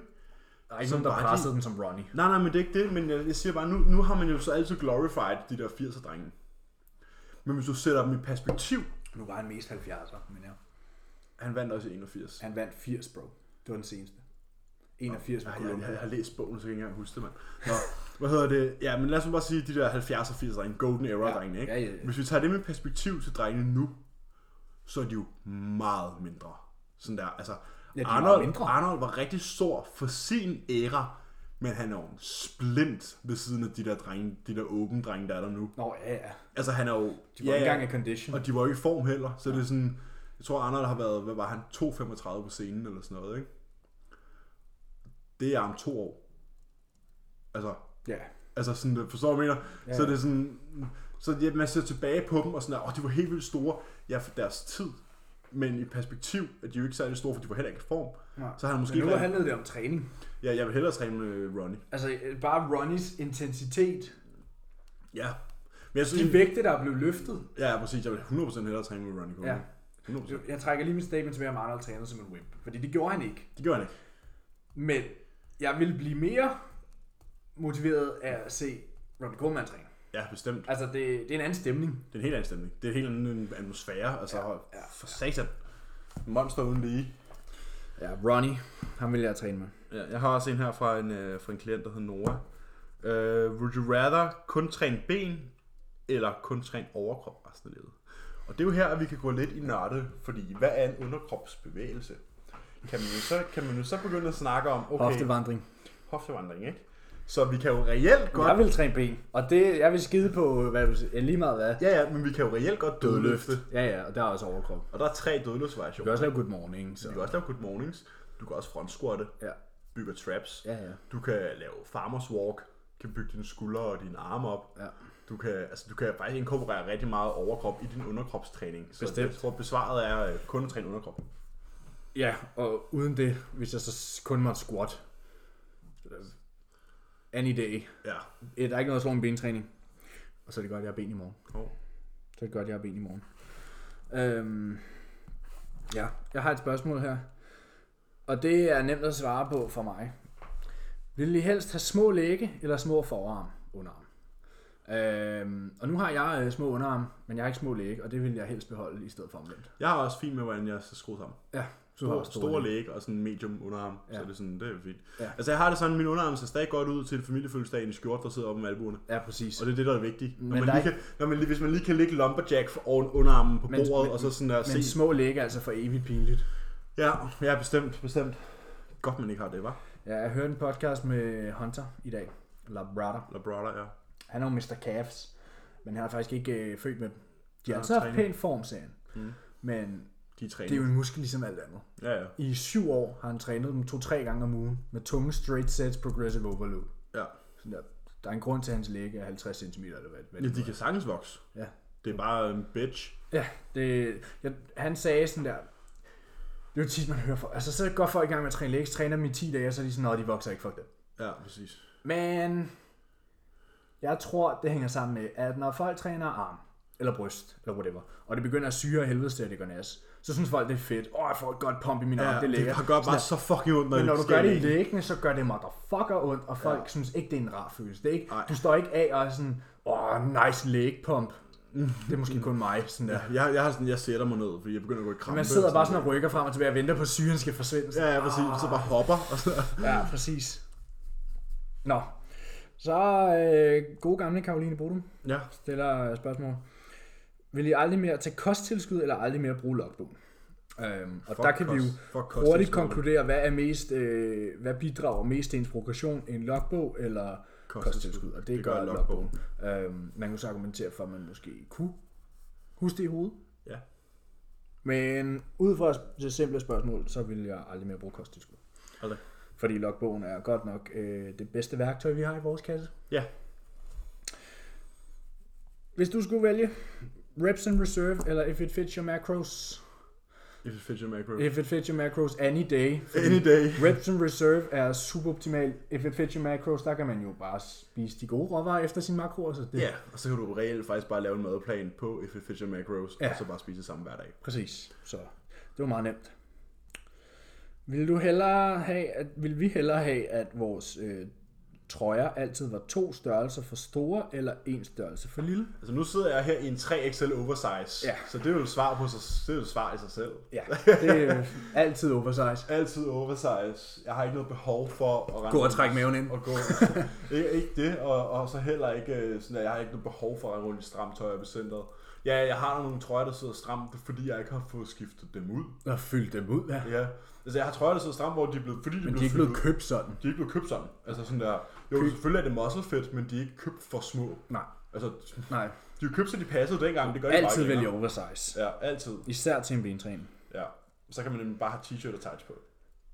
Der er ikke
som
nogen, der
Vardy.
pressede dem som Ronnie.
Nej, nej, men det er ikke det, men jeg, jeg siger bare, nu, nu har man jo så altid glorified de der 80'er drenge. Men hvis du sætter dem i perspektiv,
Nu var han mest 70'er, men ja.
han vandt også i 81.
Han vandt 80, bro. Det var den seneste. 81 med
Ej, jeg,
Columbia.
jeg, jeg har læst bogen, så jeg kan jeg ikke engang huske det, mand. Nå, hvad hedder det? Ja, men lad os nu bare sige, de der 70'er, 80'er drenge, golden era drenge, ikke?
Ja, ja, ja.
Hvis vi tager dem i perspektiv til drengene nu, så er de jo meget mindre. Sådan der, altså...
Ja, de er meget
Arnold,
mindre.
Arnold var rigtig stor for sin æra, men han er jo en splint ved siden af de der drenge, de der åbne drenge, der er der nu.
Nå, ja, ja.
Altså, han er jo...
De var ja, ikke engang i condition.
Og de var jo ikke i form heller, så det er sådan... Jeg tror, Arnold har været, hvad var han, 2,35 på scenen eller sådan noget, ikke? Det er om to år. Altså,
Ja.
altså sådan, øh, forstår du, hvad jeg mener? Ja. Så er det sådan, så ja, man ser tilbage på dem og sådan, åh, oh, de var helt vildt store, ja, for deres tid, men i perspektiv, at de er jo ikke særlig store, for de var heller ikke i form.
Nej.
Så har han måske
Men nu
valgt-
handlede det om træning.
Ja, jeg vil hellere træne med Ronnie.
Altså, øh, bare Ronnies intensitet.
Ja. Men jeg
De
synes,
vægte, der blev løftet.
ja, præcis, jeg vil 100% hellere træne med Ronnie.
Ja.
Ja. 100%.
Jeg trækker lige mit statement tilbage om Arnold træner som en wimp. Fordi det gjorde han ikke.
Det gjorde han ikke.
Men jeg ville blive mere motiveret af at se Ronnie Coleman træne.
Ja, bestemt.
Altså, det, det er en anden stemning.
Det er en helt anden stemning. Det er en helt anden atmosfære. Altså, ja, ja,
ja.
for satan. Monster uden lige.
Ja, Ronnie, ham vil jeg træne med.
Ja, jeg har også en her fra en, øh, fra en klient, der hedder Nora. Øh, would you rather kun træne ben, eller kun træne overkrop resten af livet? Og det er jo her, at vi kan gå lidt i nørde, fordi hvad er en underkropsbevægelse? Kan man jo så, kan man jo så begynde at snakke om, okay,
Hoftevandring.
hoftevandring, ikke? Så vi kan jo reelt godt...
Jeg vil træne ben, og det, jeg vil skide på, hvad du siger, ja, lige meget hvad.
Ja, ja, men vi kan jo reelt godt dødløfte.
Ja, ja, og der er også overkrop.
Og der er tre
Du kan
dødløftsvariationer.
også lave good morning,
Du
så.
kan også lave good mornings. Du kan også frontsquatte,
Ja,
bygger traps.
ja, ja.
Du kan lave farmers walk, kan bygge dine skuldre og dine arme op.
ja.
Du kan, altså, du kan faktisk inkorporere rigtig meget overkrop i din underkropstræning. Så
Bestemt.
jeg tror, besvaret er øh, kun at træne underkrop.
Ja, og uden det, hvis jeg så kun måtte squat. øh, Any day.
Ja.
Ja, Øh, Der er ikke noget at slå en bentræning. Og så er det godt, jeg har ben i morgen.
Oh.
Så er det godt, jeg har ben i morgen. Øhm, ja, jeg har et spørgsmål her. Og det er nemt at svare på for mig. Vil I helst have små lægge eller små forarm? Underarm. Øhm, og nu har jeg øh, små underarm, men jeg har ikke små lægge, og det vil jeg helst beholde i stedet for omvendt.
Jeg har også fint med, hvordan jeg skal skrue sammen.
Ja, du
Stor,
har
store læg og sådan medium underarm. Ja. Så
Ja.
det er sådan, det er fint.
Ja.
Altså jeg har det sådan, min underarm ser stadig godt ud til en familiefødselsdag i en skjorte, der sidder oppe med albuerne.
Ja, præcis.
Og det er det, der er vigtigt. Når
Men
man
der
lige
er
kan, når man, lige- hvis man lige kan ligge lumberjack for oven underarmen på
Men-
bordet,
men-
og så sådan der
Men
se.
små lægge er altså for evigt pinligt.
Ja, ja, bestemt, bestemt. Godt, man ikke har det, var.
Ja, jeg hørte en podcast med Hunter i dag. Labrada.
Labrada, ja.
Han er jo Mr. Cavs, men han er faktisk ikke øh, født med dem. De
Han
har
har
altid haft
trænet.
pæn form, sagde han.
Mm.
Men
De er
det er jo
trænet.
en muskel ligesom alt andet.
Ja, ja.
I syv år har han trænet dem to-tre gange om ugen med tunge straight sets progressive overload.
ja.
Sådan der, der er en grund til, at hans læge er 50 cm eller hvad, hvad
Ja,
det
de
nu er.
kan sagtens vokse.
Ja.
Det er bare en bitch.
Ja, det, jeg, han sagde sådan der, det er jo tit, man hører for. Altså, så går folk i gang med at træne læge, så træner dem i 10 dage, og så er de sådan, at de vokser ikke, fuck det.
Ja, præcis.
Men jeg tror, det hænger sammen med, at når folk træner arm, eller bryst, eller whatever, og det begynder at syre af helvede til, at det går nas, så synes folk, det er fedt. Åh, jeg får et godt pump i min
Ja,
arm, det er
det,
lækkert.
det gør bare så fucking ondt, når,
Men når du
sker
gør
i
det i
lægen.
læggene, så gør det motherfucker ondt, og folk
Ja.
ja. synes ikke, det er en rar følelse. Det er ikke,
Nej.
du står ikke af og er sådan, åh, nice leg pump. Det er måske kun mig, sådan der.
Jeg, jeg, har sådan, jeg sætter mig ned, fordi jeg begynder at gå i krampe.
Man sidder bare sådan Ah. og rykker frem og tilbage og venter på, at syren skal forsvinde.
Ja, ja, præcis. Så bare hopper. Og så.
Ja, præcis. Nå, så øh, gode gamle Karoline Bodum.
Ja.
stiller spørgsmål. Vil I aldrig mere tage kosttilskud, eller aldrig mere bruge logbogen? Øhm, og
Fuck
der kan vi jo
kost- fuck kosttilskud.
hurtigt konkludere, hvad er mest, øh, hvad bidrager mest til ens progression, en logbog eller
Kosttilskud.
kosttilskud? kosttilskud. Og det,
Det
det
gør
gør logbogen. Øhm, man kunne så argumentere for, at man måske kunne huske det i hovedet.
Ja.
Men ud fra det simple spørgsmål, så vil jeg aldrig mere bruge kosttilskud.
Aldrig.
Fordi logbogen er godt nok øh, det bedste værktøj, vi har i vores kasse.
Ja.
Hvis du skulle vælge reps and reserve, eller if it fits your macros.
If it fits your macro.
If it fits your macros any day. fordi
Any day.
Reps and reserve er suboptimal. If it fits your macros, der kan man jo bare spise de gode råvarer efter sin makro. Så det,
Ja, og så kan du reelt faktisk bare lave en madplan på If it fits your macros, ja.
Ja.
og så bare spise det samme hver dag.
Præcis. Så det var meget nemt. Vil du hellere have, at, vil vi hellere have, at vores øh, trøjer altid var to størrelser for store, eller en størrelse for lille?
Altså nu sidder jeg her i en 3XL oversize,
Ja.
så det er jo et svar på sig, det er jo et svar i sig selv.
Ja, det er øh, altid oversize.
Altid oversize. Jeg har ikke noget behov for at rende
Gå og
rundt-
trække maven ind.
Og gå. ikke, ikke det, og, og så heller ikke øh, sådan, at jeg har ikke noget behov for at rende rundt i stramt tøj på centret. Ja, jeg har nogle trøjer, der sidder stramt, det er fordi jeg ikke har fået skiftet dem ud.
Og fylde dem ud, ja.
Ja. Altså jeg har trøjer, der sidder stramt, hvor de er blevet, fordi de
Men de
blev
er ikke
fyldt
blevet
ud.
købt sådan.
de er ikke blevet købt sammen. Altså sådan der, jo
Køb-
selvfølgelig er det muscle fit, men de er ikke købt for små.
Nej,
Altså,
nej.
de er købt, så de passede dengang, det gør de
Altid
bare ikke
vælge
længere.
oversize.
Ja, altid.
Især til en bentræning.
Ja. Så kan man nemlig bare have t-shirt og tights på.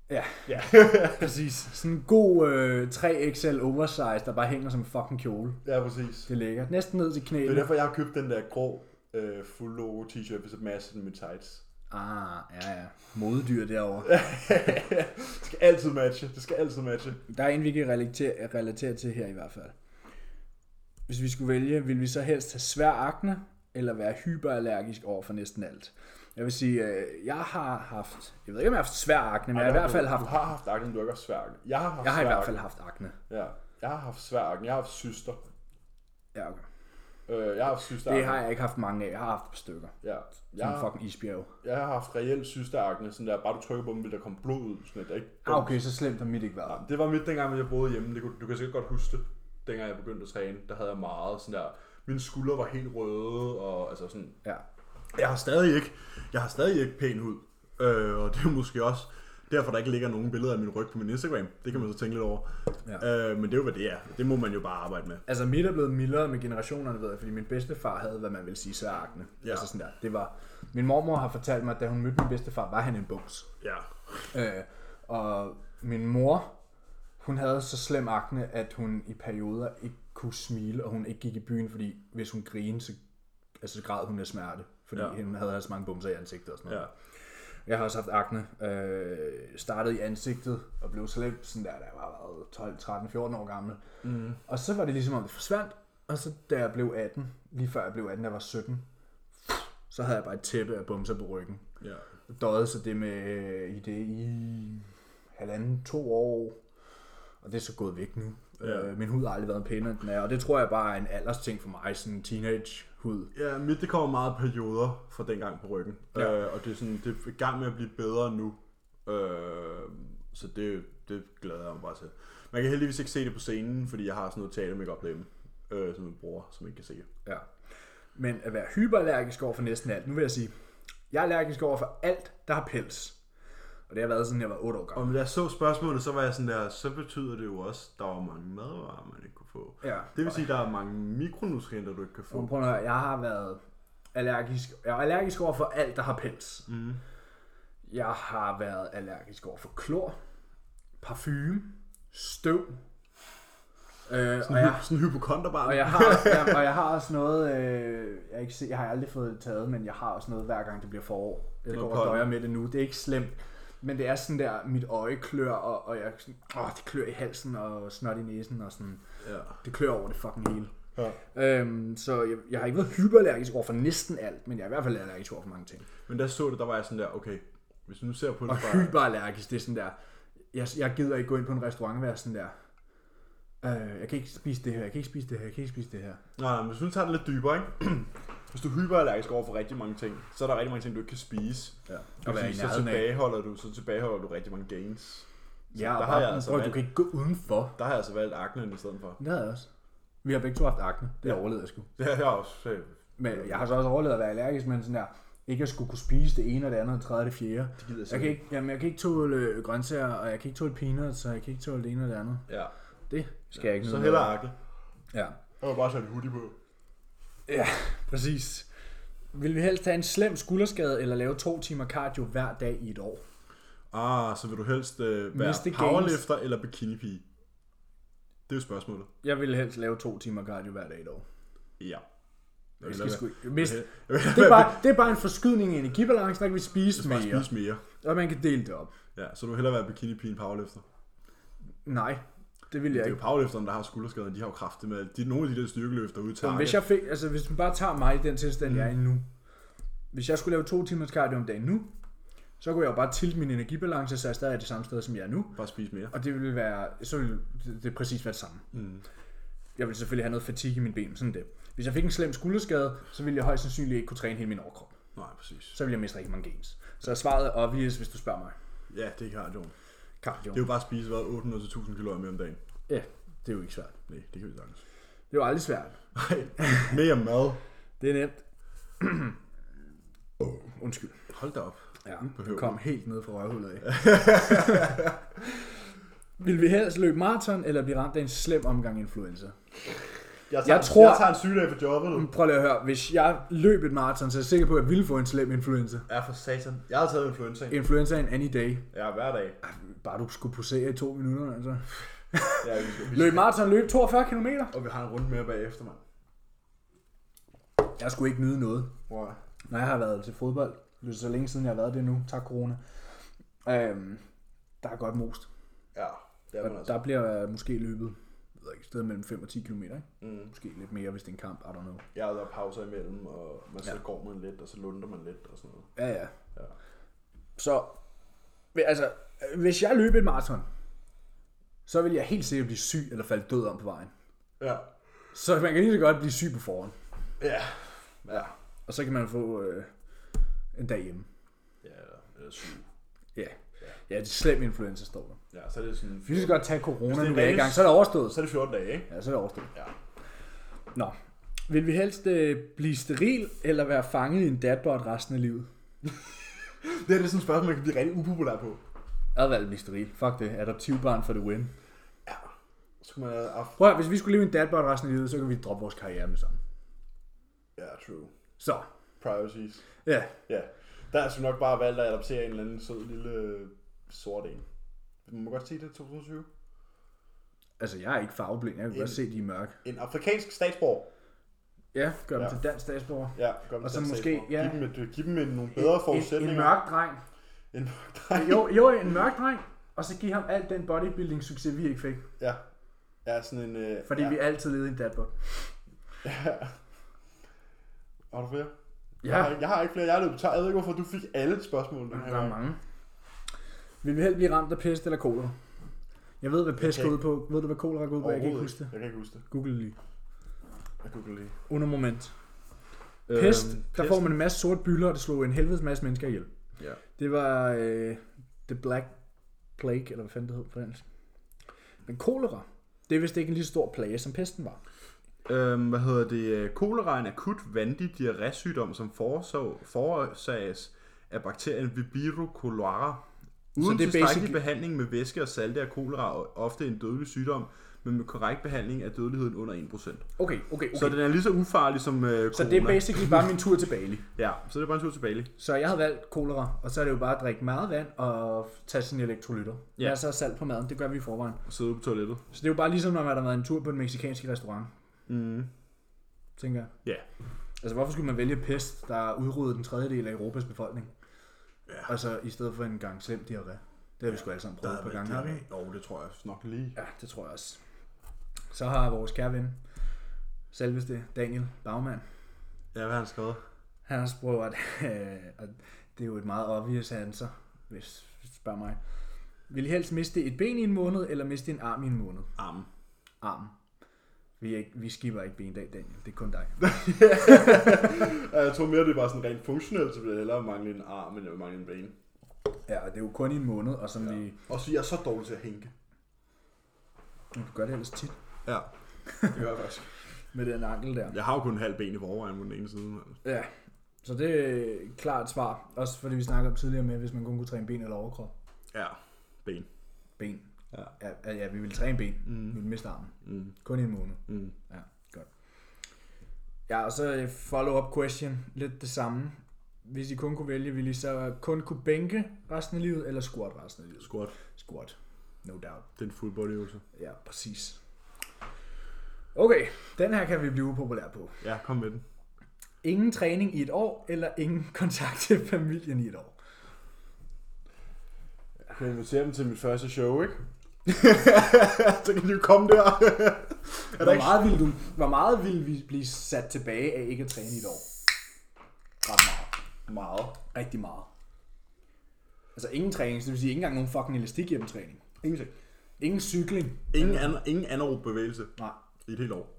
Ja,
Ja.
præcis. Sådan en god øh, 3XL oversize, der bare hænger som en fucking kjole.
ja, præcis.
Det er lækkert. Næsten ned til
Det er
knæene.
derfor, jeg har købt den der grå øh, full logo t-shirt, hvis jeg matcher den med tights.
Ah, ja, ja. Modedyr derovre.
det skal altid matche. Det skal altid matche.
Der er en, vi kan relatere, relatere til her i hvert fald. Hvis vi skulle vælge, ville vi så helst have svær akne, eller være hyperallergisk over for næsten alt? Jeg vil sige, øh, jeg har haft, jeg ved ikke om jeg har haft svær akne, men jeg har i hvert fald haft,
Du har haft akne, men du har ikke haft sværken. Jeg har haft
jeg har i
svær
hvert fald
akne.
haft akne.
Ja. Jeg har haft sværken. Jeg har haft syster.
Ja, okay.
Øh, jeg har haft syster.
Det har jeg ikke haft mange af, jeg har haft et par stykker.
Ja. Jeg,
Sådan en
har,
fucking isbjerg.
jeg har haft reelt systerakne, sådan der, bare du trykker på dem, vil der komme blod ud, sådan at der ikke
Ah, okay, så slemt har mit ikke været.
Det var mit dengang, hvor jeg boede hjemme, det, kunne, du kan sikkert godt huske det. dengang jeg begyndte at træne, der havde jeg meget sådan der, mine skuldre var helt røde, og altså sådan,
Ja.
jeg har stadig ikke, jeg har stadig ikke pæn hud. Øh, og det er måske også derfor, der ikke ligger nogen billeder af min ryg på min Instagram. Det kan man så tænke lidt over. Ja. Øh, men det er jo, hvad det er. Det må man jo bare arbejde med.
Altså mit er blevet mildere med generationerne, ved jeg, fordi min bedstefar havde, hvad man vil sige, så arkene.
Ja.
Ja. Altså sådan der. Det var, min mormor har fortalt mig, at da hun mødte min bedstefar, var han en bums.
Ja.
Øh, og min mor, hun havde så slem akne, at hun i perioder ikke kunne smile, og hun ikke gik i byen, fordi hvis hun grinede, så, altså, så græd hun af smerte, fordi
Ja.
ja. hun havde altså mange bumser i ansigtet og sådan noget.
ja.
Jeg har også haft akne. Øh, startede i ansigtet og blev slem, sådan der, da jeg var hvad, 12, 13, 14 år gammel. Mm. Og så var det ligesom om, det forsvandt. Og så da jeg blev 18, lige før jeg blev 18, da jeg var 17, så havde jeg bare et tæppe af bumser på ryggen.
ja.
Døjede så det med øh, i det i halvanden, to år. Og det er så gået væk nu.
Ja.
Ja. Øh, min hud har aldrig været pænere, end den er. Og det tror jeg bare er en alders ting for mig, sådan en teenage-hud.
Ja, mit det kommer meget i perioder fra dengang på ryggen. Ja.
Ja.
Øh, og det er sådan, det er i gang med at blive bedre nu. Øh, så det, det glæder jeg mig bare til. Man kan heldigvis ikke se det på scenen, fordi jeg har sådan noget teater makeup derhjemme, øh, som jeg bruger, som ikke kan se det.
Ja. Men at være hyperallergisk over for næsten alt. Nu vil jeg sige, jeg er allergisk over for alt, der har pels. Og det har været siden jeg var 8 år gammel.
Og da jeg så spørgsmålet, så var jeg sådan der, så betyder det jo også, at der var mange madvarer, man ikke kunne få.
Ja.
Det vil sige, at der er mange mikronutrienter, du ikke kan få.
Og prøv at høre, jeg har været allergisk, jeg er allergisk over for alt, der har pels. Mm. Jeg har været allergisk over for klor, parfume, støv. Øh, og, jeg,
Sådan en hypokonterbarn.
og, jeg har, jeg, og jeg har også noget, øh, jeg, har ikke, se- jeg har aldrig fået det taget, men jeg har også noget, hver gang det bliver forår. Jeg
Noget
går og
pollen.
døjer med det nu. Det er ikke slemt. Men det er sådan der, mit øje klør, og, og jeg sådan, åh, det klør i halsen og snot i næsen, og sådan,
Ja.
det klør over det fucking hele.
ja.
Øhm, så jeg, jeg har ikke været hyperallergisk over for næsten alt, men jeg er i hvert fald allergisk over for mange ting.
Men da jeg så det, der var jeg sådan der, okay, hvis du nu ser på det
Og
fra...
hyperallergisk, det er sådan der, jeg, jeg gider ikke gå ind på en restaurant og være sådan der, øh, jeg kan ikke spise det her, jeg kan ikke spise det her, jeg kan ikke spise det her.
Nej, nej, men hvis du nu tager det lidt dybere, ikke? Hvis du er hyperallergisk over for rigtig mange ting, så er der rigtig mange ting, du ikke kan spise.
Ja.
Og
Og være i
så,
nærheden af.
tilbageholder du, så tilbageholder du rigtig mange gains.
Ja,
der
og
har jeg
bare,
altså
altså bror, du
valgt-
kan ikke gå udenfor.
Der har jeg altså valgt aknen i stedet for.
Det havde jeg også. Vi har begge to haft akne. Det ja. overlevede jeg sgu.
Det har jeg også. øh,
Men jeg har så også overlevet at være allergisk, men sådan der, ikke at skulle kunne spise det ene og det andet, og det tredje og det fjerde.
Det
Jeg
gider jeg
kan
simpelthen
ikke, jamen, jeg kan ikke tåle øh, grøntsager, og jeg kan ikke tåle peanuts, så jeg kan ikke tåle det ene og det andet.
Ja.
Det skal jeg ikke
Så
nyde
heller
noget af.
akne.
Ja.
Jeg har bare sat en hoodie på.
Ja, præcis. Vil vi helst have en slem skulderskade, eller lave to timer cardio hver dag i et år?
Ah, så vil du helst øh,
Miste
være Miste
gains.
powerlifter gains. eller bikinipige? Det er jo spørgsmålet.
Jeg vil helst lave to timer cardio hver dag i et år.
Ja. Jeg
Jeg
vil
skal
lade
sgu...
være-
ikke- Mist...
Jeg vil- jeg
Det,
vil
er bare, det er bare en forskydning i energibalancen, der kan vi spise
bare
mere,
spise mere.
og man kan dele det op.
Ja, så du vil hellere være bikinipige end powerlifter.
Nej, det vil jeg
Det er
ikke.
jo powerlifterne, der har skulderskader, de har jo kraftet med. De, nogle af de der styrkeløft, der udtager.
Men hvis jeg fik, altså hvis man bare tager mig i den tilstand, jeg er i nu. Hvis jeg skulle lave to timers cardio om dagen nu, så kunne jeg jo bare tilte min energibalance, så jeg stadig er det samme sted, som jeg er nu.
Bare spise mere.
Og det ville være, så ville det præcis være det samme.
Mm.
Jeg ville selvfølgelig have noget fatigue i mine ben, sådan det. Hvis jeg fik en slem skulderskade, så ville jeg højst sandsynligt ikke kunne træne hele min overkrop.
Nej, præcis.
Så ville jeg miste rigtig mange gains. Så svaret er obvious, hvis du spørger mig.
Ja, det er cardio.
Cardio.
Det er jo bare at spise hvad, 800-1000 kalorier mere om dagen.
Ja, det er jo ikke svært.
Nej, det kan vi sagtens.
Det er jo aldrig svært.
Nej, mere mad.
Det er nemt. oh, undskyld.
Hold da op.
Ja,
behøver
du kom helt ned fra røvhullet af. Vil vi helst løbe maraton eller blive ramt af en slem omgang influenza? tager- Jeg tror- jeg
tager en sygedag på jobbet.
Prøv lige at høre, hvis jeg løb et maraton, så er jeg sikker på, at jeg ville få en slem influenza.
Ja, for satan. Jeg har taget influenza.
Influenza en any day.
Ja, hver dag.
Bare du skulle posere i to minutter, altså.
Ja, vi skal, vi
Løb maraton, løb 42 km.
Og vi har en runde mere bagefter, mand.
Jeg skulle ikke nyde noget.
Wow.
Når jeg har været til fodbold, det er så længe siden jeg har været det nu, tak corona, øhm, der er godt most.
Ja, det er man
Og
altså.
der bliver måske løbet jeg ved ikke, et sted mellem 5 og 10 km. Ikke?
Mm.
Måske lidt mere, hvis det er en kamp, I don't know.
Ja, og der er pauser imellem, og man så går man lidt, og så lunder man lidt og sådan noget.
Ja, ja.
Ja.
Så, men altså, hvis jeg løb et maraton, så vil jeg helt sikkert blive syg eller falde død om på vejen.
Ja.
Så man kan lige så godt blive syg på forhånd.
Ja. Ja.
Og så kan man få øh, en dag hjemme.
Ja, eller syg.
Ja. Ja, det er slem influenza, står der.
Ja, så er det sådan...
Vi skal godt tage
Hvis
corona,
det er
nu er i
dagens-
gang. Så er det overstået.
Så er det 14 dage, ikke?
Ja, så er det overstået.
Ja.
Nå. Vil vi helst øh, blive steril, eller være fanget i en datbot resten af livet?
Det er det sådan et spørgsmål, man kan blive rigtig upopulær på.
Jeg havde valgt at blive steril. Fuck det. Adoptivbarn for the win.
Så kan man have af...
Prøv at, høre, hvis vi skulle leve i en datbot resten af livet, så kan vi droppe vores karriere med sammen.
Ja, true.
Så.
Priorities.
Ja.
Ja. Der er sgu nok bare valgt at adoptere en eller anden sød lille øh, sort en. Man må godt se det i 2020.
Altså, jeg er ikke farveblind. Jeg kan godt se, de er mørke.
En afrikansk statsborger.
Ja, gør dem
Ja.
til dansk statsborger.
Ja, gør dem
Og så
til en
måske,
statsborger.
ja.
Giv dem, et, giv dem en, nogle bedre
en,
forudsætninger.
en mørk dreng.
En mørk dreng.
Jo, jo, en mørk dreng. Og så give ham alt den bodybuilding-succes, vi ikke fik.
Ja. Ja, sådan en... Øh,
Fordi
ja.
ja. vi altid levede i en datbot.
Ja. Har du flere?
Ja.
Jeg har, jeg har ikke flere. Jeg er løbet tør. Jeg ved ikke, hvorfor du fik alle spørgsmålene.
Der er mange. Vil vi helst blive ramt af pest eller kolera? Jeg ved, hvad pest
kan
går ud på. Ved du, hvad kolera går ud på? Jeg kan ikke huske det.
Jeg kan ikke huske det.
Google det lige.
Jeg googler lige.
Under moment. Pest, øhm, der
pest.
får man en masse sorte bylder, og det slog en helvedes masse mennesker ihjel.
Ja.
Det var øh, The Black Plague, eller hvad fanden det hed på dansk. Men kolera, det er vist ikke en lige så stor plage, som pesten var.
Øhm, hvad hedder det? Kolera er en akut vandig diarrésygdom, som forårsag, forårsages af bakterien Vibrio cholera. Uden
det er
tilstrækkelig
basic-
behandling med væske og salte er kolera ofte en dødelig sygdom, men med korrekt behandling er dødeligheden under 1%. Okay.
Okay, okay, okay.
Så den er lige så ufarlig som øh, corona.
så det er basically bare min tur til Bali.
Ja, så det er bare en tur tilbage.
Så jeg har valgt kolera, og så er det jo bare at drikke meget vand og tage sine elektrolytter.
Ja.
Ja. Masser af salt på maden, det gør vi i forvejen.
Og sidde ude på toilettet.
Så det er jo bare ligesom, når man har været en tur på en meksikansk restaurant,
Mm.
tænker jeg.
Ja.
Altså, hvorfor skulle man vælge pest, der udryddede en tredjedel af Europas befolkning?
Ja.
Altså, i stedet for en gang slem diarré. Det har vi sgu alle sammen prøvet et par gange. har vi ikke?
Jo, det tror jeg nok lige.
Ja, det tror jeg også. Så har vores kære ven, selveste Daniel Bagman,
Ja, hvad har han skrevet?
han har spurgt, at, øh, og det er jo et meget obvious answer, hvis hvis du spørger mig. Vil I helst miste et ben i en måned, eller miste en arm i en måned?
Armen.
Armen. Vi, er ikke, vi skipper ikke bendag, Daniel. Det er kun dig.
Ja, jeg tror mere, det var sådan rent funktionelt, så ville jeg hellere mangle en arm, end jeg ville mangle en ben.
Ja, og det er jo kun i en måned, og som ja. vi...
Og så jeg er så dårlig til at hænke.
Du gør det ellers tit
Ja, det gør jeg faktisk.
med den ankel der.
Jeg har jo kun en halv ben i forvejen på den ene side. mand.
Ja, så det er et klart svar. Også fordi vi snakkede om tidligere med, hvis man kun kunne træne ben eller overkrop.
Ja, ben.
Ben.
Ja.
Ja, ja vi ville træne ben. Mm. Vi ville miste armen.
Mm.
Kun i en måned.
Mm.
Ja, godt. Ja, og så øh, follow-up question. Lidt det samme. Hvis I kun kunne vælge, ville I så kun kunne bænke resten af livet, eller squat resten af livet?
Squat.
Squat. No doubt.
Det er en full body øvelse.
Ja, præcis. Okay, den her kan vi blive upopulær på.
Ja, kom med den.
Ingen træning i et år, eller ingen kontakt til familien i et år.
Jeg kan invitere dem til mit første show, ikke? så kan de jo komme der. er der
Hvor
ikke...
meget, ville du, hvor meget ville vi blive sat tilbage af ikke at træne i et år? Ret meget.
Meget.
Rigtig meget. Altså ingen træning, så det vil sige ikke engang nogen fucking elastik hjemme træning.
Ingenting.
Ingen cykling.
Ingen, an- ingen anaerob bevægelse
Nej.
i et helt år.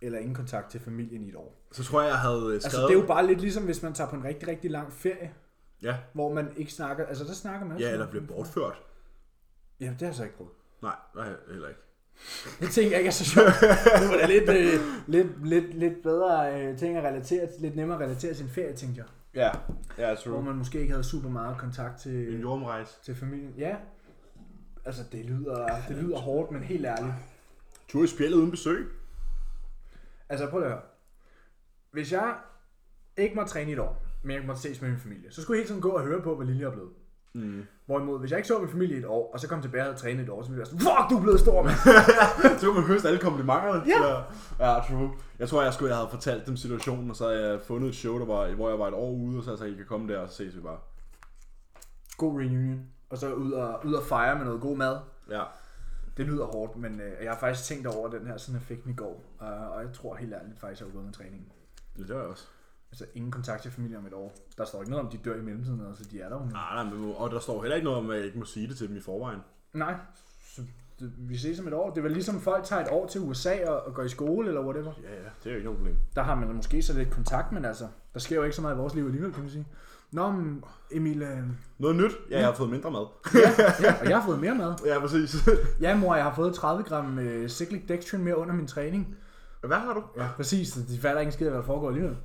Eller ingen kontakt til familien i et år.
Så tror jeg, jeg havde øh, skrevet...
Altså det er jo bare lidt ligesom, hvis man tager på en rigtig, rigtig lang ferie,
Ja,
hvor man ikke snakker, altså der snakker man
ja
også.
eller bliver bortført.
Jamen det har jeg så ikke prøvet.
Nej, nej, heller ikke.
Det tænker jeg ikke er så sjovt. Det var da lidt, øh, lidt, lidt, lidt bedre øh, ting at relatere til, lidt nemmere at relatere til en ferie, tænkte jeg.
Ja, ja,
Hvor
true.
man måske ikke havde super meget kontakt til...
En jordomrejse.
Til familien? Ja. Altså, det lyder, det lyder hårdt, men helt ærligt.
Tur i spjældet uden besøg.
Altså, prøv lige at høre. Hvis jeg ikke måtte træne i et år, men jeg måtte ses med min familie, så skulle jeg hele tiden gå og høre på, hvad Lille er blevet.
Mm.
Hvorimod, hvis jeg ikke så min familie i et år, og så kom tilbage og havde trænet et år, så ville jeg være sådan, fuck, du er blevet stor, mand!
Så kunne man høste alle komplimenterne.
Ja.
ja. Ja, true. Jeg tror, jeg skulle jeg havde fortalt dem situationen, og så havde jeg fundet et show, der var, hvor jeg var et år ude, og så sagde jeg, I kan komme der, og så ses vi bare.
God reunion. Og så ud og, ud og fejre med noget god mad.
Ja.
Det lyder hårdt, men øh, jeg har faktisk tænkt over den her, siden jeg fik den i går. Uh, og jeg tror helt ærligt faktisk, jeg har gået med træningen.
Det var jeg også.
Altså, ingen kontakt til familie om et år. Der står ikke noget om, de dør i mellemtiden, altså de er der jo nu.
Nej, nej, men, og der står heller ikke noget om, at jeg ikke må sige det til dem i forvejen.
Nej, så vi ses om et år. Det var ligesom folk tager et år til USA og, og går i skole eller whatever.
Ja, ja, det er jo ikke noget problem.
Der har man måske så lidt kontakt, men altså, der sker jo ikke så meget i vores liv alligevel, kan man sige. Nå, men Emil, øh,
Noget nyt? Ja, jeg har fået mindre mad.
ja, og jeg har fået mere mad.
Ja, præcis.
Ja, mor, jeg har fået 30 gram øh, cyclic dextrin mere under min træning.
Hvad har du?
Ja, præcis. så De fatter ikke en skid, af, hvad der foregår alligevel.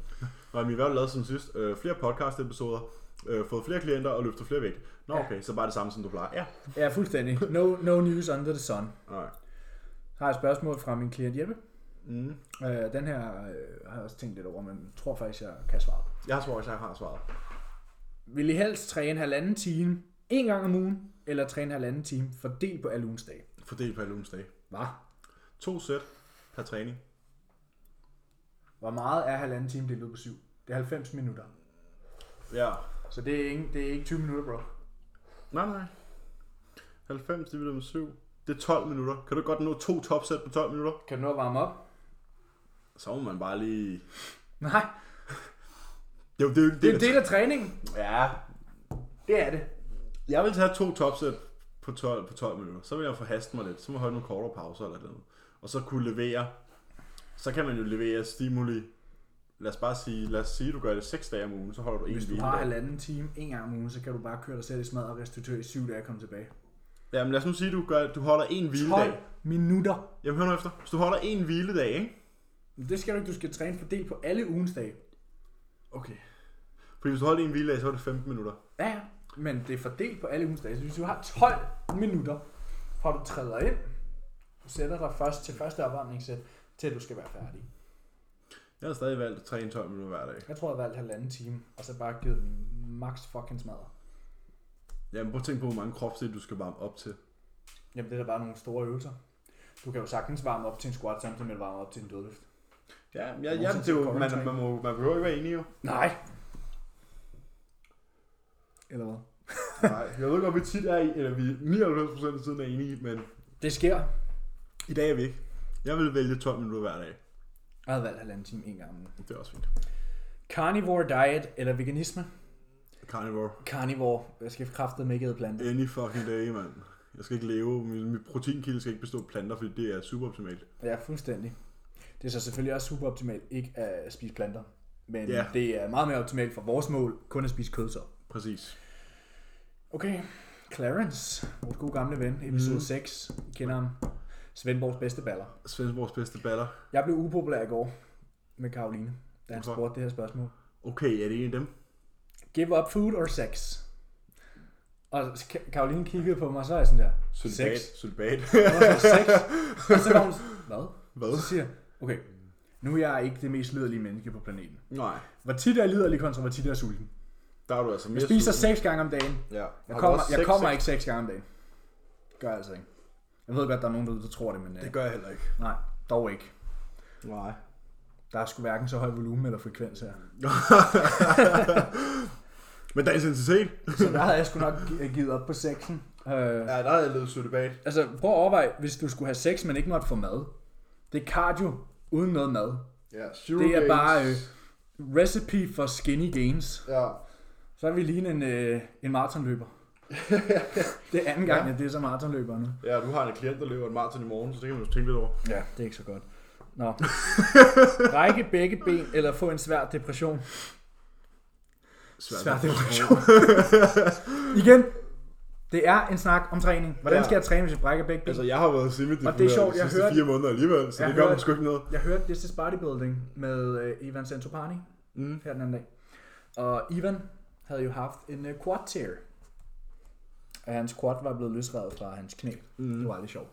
Nå, men vi har jo lavet som sidst øh, flere podcast-episoder, øh, fået flere klienter og løftet flere vægt. Nå,
Ja.
okay, så bare det samme, som du plejer. Ja.
Ja, fuldstændig. No, no news under the sun.
Nej.
Har et spørgsmål fra min klient Jeppe.
Mm.
Øh, den her øh, har jeg også tænkt lidt over, men tror faktisk, jeg kan svare.
Jeg tror også, jeg har svaret.
Vil I helst træne halvanden time en gang om ugen, eller træne halvanden time fordelt på alle ugens dage?
Fordelt på alle ugens dage.
Hvad?
To sæt per træning.
Hvor meget er halvanden time delt ud på syv? Det er 90 minutter.
Ja.
Så det er ikke, det er ikke 20 minutter, bro.
Nej, nej. 90 divideret med 7. Det er 12 minutter. Kan du godt nå to topsæt på 12 minutter?
Kan du nå at varme op?
Så må man bare lige...
Nej,
Jo, det er jo ikke
det
det.
er en del af træningen.
Ja.
Det er det.
Jeg vil tage to topsæt på 12, på 12 minutter. Så vil jeg forhaste mig lidt. Så må jeg holde nogle kortere pauser eller noget. Og så kunne levere... Så kan man jo levere stimuli. Lad os bare sige, lad os sige, du gør det 6 dage om ugen, så holder du en
Hvis du
hvile.
har halvanden time en gang om ugen, så kan du bare køre dig selv i smadret og restituere i syv dage og komme tilbage.
Jamen lad os nu sige, du, gør, du holder en hviledag.
12 minutter.
Jamen hør nu efter. Hvis du holder en hviledag, ikke?
Men det skal du ikke. Du skal træne fordelt på alle ugens dage.
Okay. Fordi hvis du holder en hviledag, så er det 15 minutter.
Ja, ja. Men det er fordelt på alle ugens dage. Så hvis du har 12 minutter, fra du træder ind, du sætter dig først til første opvarmningssæt, til du skal være færdig.
Jeg har stadig valgt at træne 12 minutter hver dag.
Jeg tror, jeg har valgt halvanden time, og så bare givet den max fucking smadre.
Jamen prøv at tænke på, hvor mange kropsdele du skal varme op til.
Jamen, det er da bare nogle store øvelser. Du kan jo sagtens varme op til en squat, samtidig med at varme op til en dødløft.
Ja, jeg,
Nogen
jeg,
som
det er jo,
siger
man,
kortere
man, må, man behøver ikke være enig jo.
Nej. Eller hvad?
Nej, jeg ved godt, vi tit er i, eller vi 99% af tiden er enige, men
Det sker.
i dag er vi ikke. Jeg vil vælge 12 minutter hver dag.
Jeg havde valgt halvanden time en gang om ugen.
Det er også fint.
Carnivore diet eller veganisme?
Carnivore.
Carnivore. Jeg skal kraftedeme ikke æde planter.
Any fucking day, mand. Jeg skal ikke leve. Min, min proteinkilde skal ikke bestå af planter, fordi det er super optimalt.
Ja, fuldstændig. Det er så selvfølgelig også super optimalt ikke at spise planter. Men
Ja.
yeah. det er meget mere optimalt for vores mål, kun at spise kød så.
Præcis.
Okay, Clarence, vores gode gamle ven, episode mm. 6, I kender ham. Svendborgs bedste baller.
Svendborgs bedste baller.
Jeg blev upopulær i går med Karoline, da han
Hvorfor?
spurgte det her spørgsmål.
Okay, er det en af dem?
Give up food or sex? Og så Ka- Karoline kiggede på mig, og så er jeg sådan der,
Sølbat.
sex.
Sølbat.
Og så, sex. Og så var hun, hvad?
Hvad?
Så siger jeg, okay, nu er jeg ikke det mest liderlige menneske på planeten.
Nej.
Hvor tit er jeg liderlig kontra hvor tit er jeg sulten?
Der er du altså mere
Jeg spiser
sulten.
seks gange om dagen.
Ja.
Jeg kommer, jeg kommer ikke seks gange om dagen. Gør jeg altså ikke. Jeg ved godt, der er nogen derude, der tror det, men det
Det gør jeg heller ikke.
nej, dog ikke.
Nej.
Der er sgu hverken så høj volumen eller frekvens her.
Men dagens intensitet?
Så der havde jeg sgu nok gi- givet op på sexen. Øh,
Ja, der har jeg levet sødebat.
altså, prøv at overveje, hvis du skulle have sex, men ikke måtte få mad. Det er cardio uden noget mad.
Ja, zero
Det er
gains.
bare øh, recipe for skinny gains.
Ja.
Så er vi lige en, øh, en maratonløber. det er anden gang, ja. at det er så maratonløber nu.
ja, du har en klient, der løber en maraton i morgen, så det kan man jo tænke lidt over.
Ja, det er ikke så godt. Nå. Række begge ben eller få en svær depression. Svær depression. Igen, det er en snak om træning. Hvordan
Ja.
skal jeg træne, hvis jeg brækker begge ben?
Altså, jeg har været semi
Og det er sjovt,
de
jeg
sidste
hørte-
fire måneder alligevel, så
Jeg
det gør mig
hørte-
sgu ikke noget.
Jeg hørte This is Bodybuilding med øh, Ivan Santopani
Mm.
her den anden dag. Og Ivan havde jo haft en øh, quad tear. Og hans quad var blevet løsrevet fra hans knæ. Mm. Det var aldrig sjovt.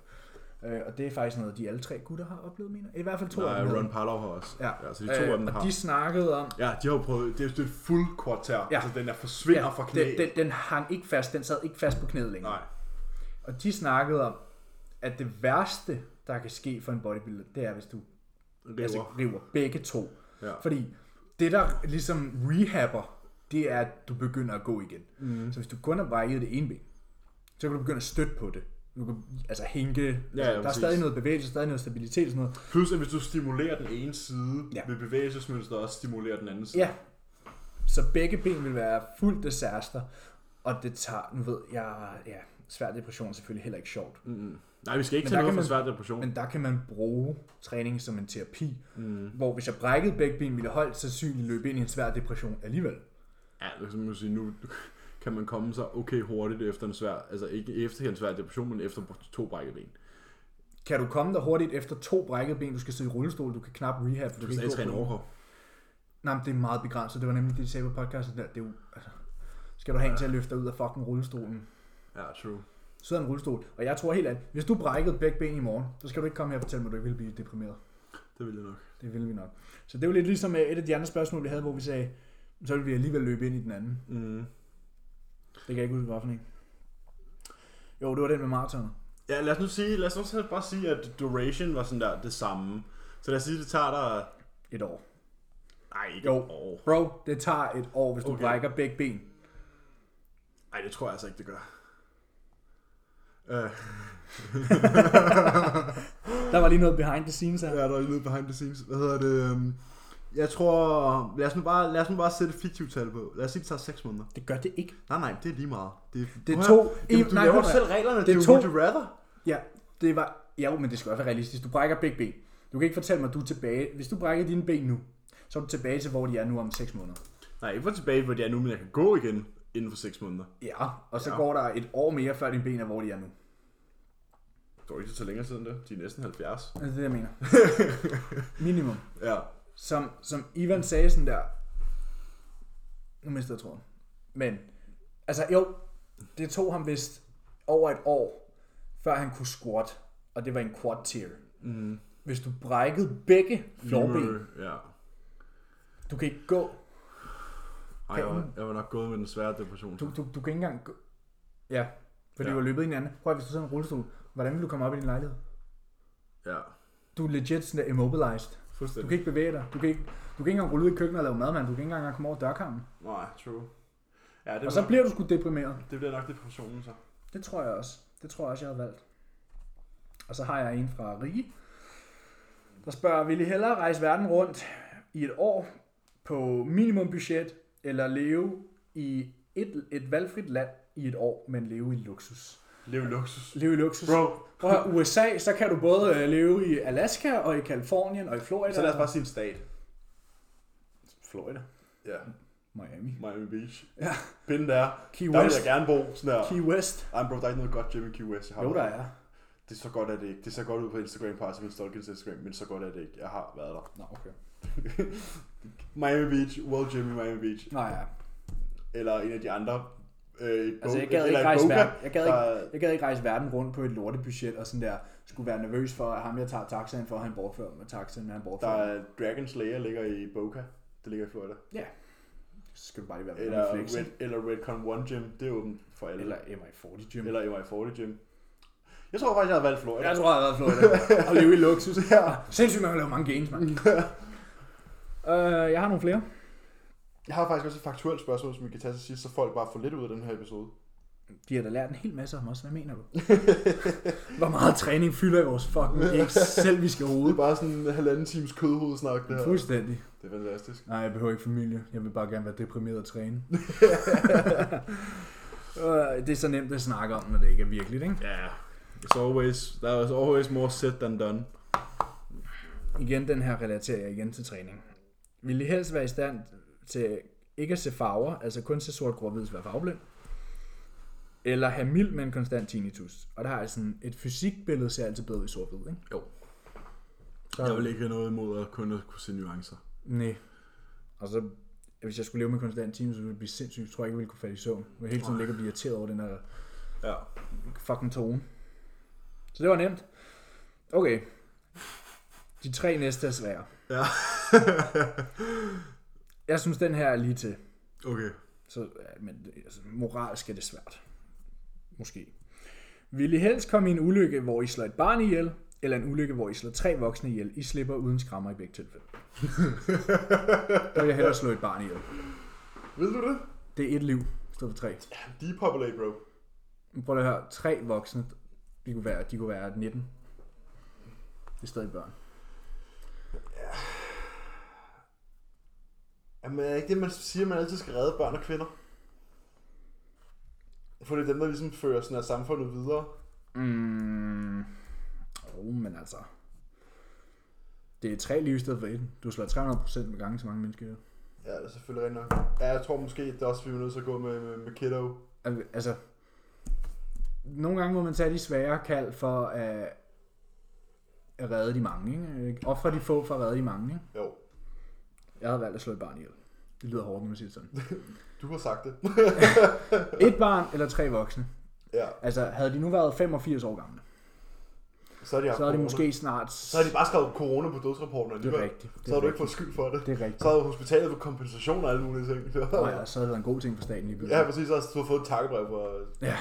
Øh, og det er faktisk noget, de alle tre gutter har oplevet, mener jeg. I hvert fald to af
Nej,
dem. havde
Ron
det.
Parlow har også.
Ja.
ja så de to øh, af dem
og
har.
de snakkede om,
Ja, de har jo prøvet, det er jo et fuld kvarter. Ja.
Ja.
Altså, den der forsvinder fra knæet.
den, den, den hang ikke fast, den sad ikke fast på knæet længere.
Nej.
Og de snakkede om, at det værste, der kan ske for en bodybuilder, det er, hvis du river, altså,
River.
river begge to.
Ja.
Fordi det, der ligesom rehabber, det er, at du begynder at gå igen. Mm. Så hvis du kun har brækket det ene ben, så kan du begynde at støtte på det. Du kan altså hænke. Ja, altså, der er
præcis.
stadig noget bevægelse, stadig noget stabilitet og sådan noget.
Plus, at hvis du stimulerer den ene side, ja.
Ja.
vil bevægelsesmønstret også stimulere den anden side.
Ja. Så begge ben vil være fuldt disaster. Og det tager, nu ved jeg, ja, svær depression er selvfølgelig heller ikke sjovt.
Mm. Nej, vi skal ikke
Men
tage
der
noget
kan
for
man-
svær depression.
Men der kan man bruge træning som en terapi, mm. hvor hvis jeg brækkede begge ben, ville jeg højst sandsynligt løbe ind i en svær depression alligevel.
Ja, det er som at sige, nu kan man komme sig okay hurtigt efter en svær, altså ikke efter en svær depression, men efter to brækket ben.
Kan du komme der hurtigt efter to brækkede ben, du skal sidde i rullestol, du kan knap rehab, for du,
Du
kan
kan
ikke
stadig træne
gå på-
overkrop.
Nej, men det er meget begrænset. Det var nemlig det, de sagde på podcasten der. Det er jo, altså, skal du have en til at løfte dig ud af fucking rullestolen?
Ja, true.
Sidder i en rullestol. Og jeg tror helt andet. Hvis du brækkede begge ben i morgen, så skal du ikke komme her og fortælle mig, at du ikke ville blive deprimeret.
Det vil jeg nok.
Det ville vi nok. Så det var lidt ligesom øh, et af de andre spørgsmål, vi havde, hvor vi sagde, så ville vi alligevel løbe ind i den anden.
Mm.
Det kan jeg ikke huske, hvorfor en. Jo, det var den med maratoner.
Ja, lad os nu sige, lad os også bare sige, at duration var sådan der det samme. Så lad os sige, det tager dig...
Et år.
Nej, ikke
Jo.
et år.
Bro, det tager et år, hvis du
Okay.
okay. brækker begge ben.
Nej, det tror jeg altså ikke, det gør. Øh,
Der var lige noget behind the scenes her.
ja, der er lidt behind the scenes. Hvad hedder det? øhm, Jeg tror... Lad os nu bare, lad os nu bare sætte et fiktivt tal på. Lad os sige, det tager 6 måneder.
Det gør det ikke.
Nej, nej, det er lige meget. Det,
Det er
Prøv
to-
at høre, det, du
nej,
laver
prøv at-
selv reglerne. Det,
det
er
er
jo
to-
would you rather.
Ja, det var... Ja, jo, men det skal også være realistisk. Du brækker begge ben. Du kan ikke fortælle mig, at du er tilbage. Hvis du brækker dine ben nu, så er du tilbage til, hvor de er nu om 6 måneder.
Nej, ikke for tilbage, hvor det er nu, men jeg kan gå igen inden for 6 måneder.
Ja, og så
Ja.
ja. går der et år mere, før dine ben er, hvor de er nu.
Det var ikke så længere siden det. De er næsten 70.
Altså, det er det, jeg mener. Minimum.
Ja.
Som, som Ivan sagde sådan der... Nu mistede jeg tråden. Men, altså jo, det tog ham vist over et år, før han kunne squat. Og det var en quad tier. Mm. Hvis du brækkede begge flårben,
Ja.
du kan ikke gå
Ej, jeg, var, jeg var nok gået med den svære depression.
Du, du, du kan ikke engang... Gå... Ja, fordi
Ja.
ja. du har løbet i en anden. Prøv at hvis du sidder i en rullestol, hvordan vil du komme op i din lejlighed?
Ja.
Du er legit sådan der immobilized. Du
Fuldstændig.
kan ikke bevæge dig. Du kan ikke, du kan ikke engang rulle ud i køkkenet og lave mad, mand. Du kan ikke engang komme over dørkarmen.
Nej, true. Ja, det,
Og så bliver du sgu deprimeret.
det bliver nok depressionen så.
Det tror jeg også. Det tror jeg også, jeg har valgt. Og så har jeg en fra Rige. Der spørger, vil I hellere rejse verden rundt i et år på minimum budget, eller leve i et, et valgfrit land i et år, men leve i luksus?
Lev luksus.
Leve i luksus.
Bro,
Prøv at høre, USA, så kan du både øh, leve i Alaska og i Kalifornien og i Florida.
så lad os bare sige en stat.
Florida.
Ja.
Miami.
Miami Beach.
Ja.
Pind der.
Key
Der vil
West.
jeg gerne bo. Sådan der.
Key West.
Ej, bro, der er ikke noget godt Jimmy Q West. Jeg har
Jo, der
været-
er.
Det er så godt, at det ikke. Det er så godt ud på Instagram, på Arsene Stolkins Instagram, men så godt, at det ikke. Jeg har været der.
Nå, okay.
Miami Beach, World Jimmy Miami Beach,
Nej, ja.
eller en af de andre. Øh,
Altså,
Bo-
jeg gad
eller
ikke
i
rejse
Boca,
verden. Jeg gad
der-
ikke, jeg gad ikke rejse verden rundt på et lortebudget og sådan der skulle være nervøs for, at ham jeg tager taxaen for, han bortfører med taxaen, men han
Der
bortfører.
er Dragon Slayer ligger i Boca. Det ligger i Florida.
Ja. Så skal du bare lige være
Eller,
med Netflix.
Red, eller Redcon One Gym. Det er åbent for alle.
Eller MI40 Gym.
eller MI40 Gym. Jeg tror faktisk, jeg havde valgt Florida.
Jeg tror, jeg har været i Florida. og leve i luksus. Ja. Sindssygt, man kan lave mange games, mand. uh, jeg har nogle flere.
jeg har faktisk også et faktuelt spørgsmål, som vi kan tage til sidst, så folk bare får lidt ud af den her episode.
De har da lært en hel masse om os. Hvad mener du? Hvor meget træning fylder i vores fucking ikke selv, vi skal
Det
rode.
er bare sådan en halvanden times kødhovedsnak, det her.
Fuldstændig.
Det er fantastisk.
Nej, jeg behøver ikke familie. Jeg vil bare gerne være deprimeret og træne. Øh, det er så nemt at snakke om, når det ikke er virkeligt, ikke?
Ja, yeah. it's always, there is always more said than done.
Igen, den her relaterer jeg igen til træning. Vil I helst være i stand til ikke at se farver, altså kun se sort, grå, hvid, være farveblind? Eller have mild, men konstant tinnitus? Og der har jeg sådan, et fysikbillede ser altid bedre ud i sort-hvid, ikke?
Jo.
Så,
Jeg vil ikke have noget imod at kun at kunne se nuancer.
Nej. Og så, hvis jeg skulle leve med konstant tinnitus, så ville jeg blive sindssygt. Jeg tror jeg ikke, jeg ville kunne falde i søvn. Jeg ville hele tiden ligge og blive irriteret over den her
Ja.
fucking tone. Så det var nemt. Okay. De tre næste er svære.
Ja.
Jeg synes, den her er lige til.
okay.
Så, ja, men altså, moralsk er det svært. Måske. Vil I helst komme i en ulykke, hvor I slår et barn ihjel, eller en ulykke, hvor I slår tre voksne ihjel? I slipper uden skrammer i begge tilfælde. Der vil jeg hellere slå et barn ihjel.
Ved du det?
Det er et liv, i stedet for tre.
Depopulate, bro.
Men Prøv lige at høre, tre voksne, de kunne være, de kunne være 19. Det er stadig børn.
Jamen, er ikke det, man siger, at man altid skal redde børn og kvinder? For det er dem, der ligesom fører sådan her samfundet videre.
Mm. Oh, men altså. Det er tre liv i stedet for et. Du slår 300% gange så mange mennesker. ihjel.
Ja, det er selvfølgelig rent nok. Ja, jeg tror måske, det er også, vi er nødt til at gå med, med, med kiddo.
Al- Altså, nogle gange må man tage de svære kald for at, at redde de mange. Ikke? Offre de få for at redde de mange. Ikke?
Jo,
Jeg havde valgt at slå et barn ihjel. Det lyder hårdt, når man siger det sådan.
du har sagt det.
Et barn eller tre voksne.
ja,
Altså, havde de nu været 85 år gamle,
så er de haft
så havde de
corona.
måske snart...
Så har de bare skrevet corona på dødsrapporten
Det
alligevel.
er rigtigt. Det
Så har
er
du ikke
rigtigt.
fået skyld for det.
Det er rigtigt.
Så havde hospitalet fået kompensation og alle mulige ting.
Og ellers så havde det været en god ting for staten lige pludselig.
ja, præcis. Også, du har fået et takkebrev for...
Ja.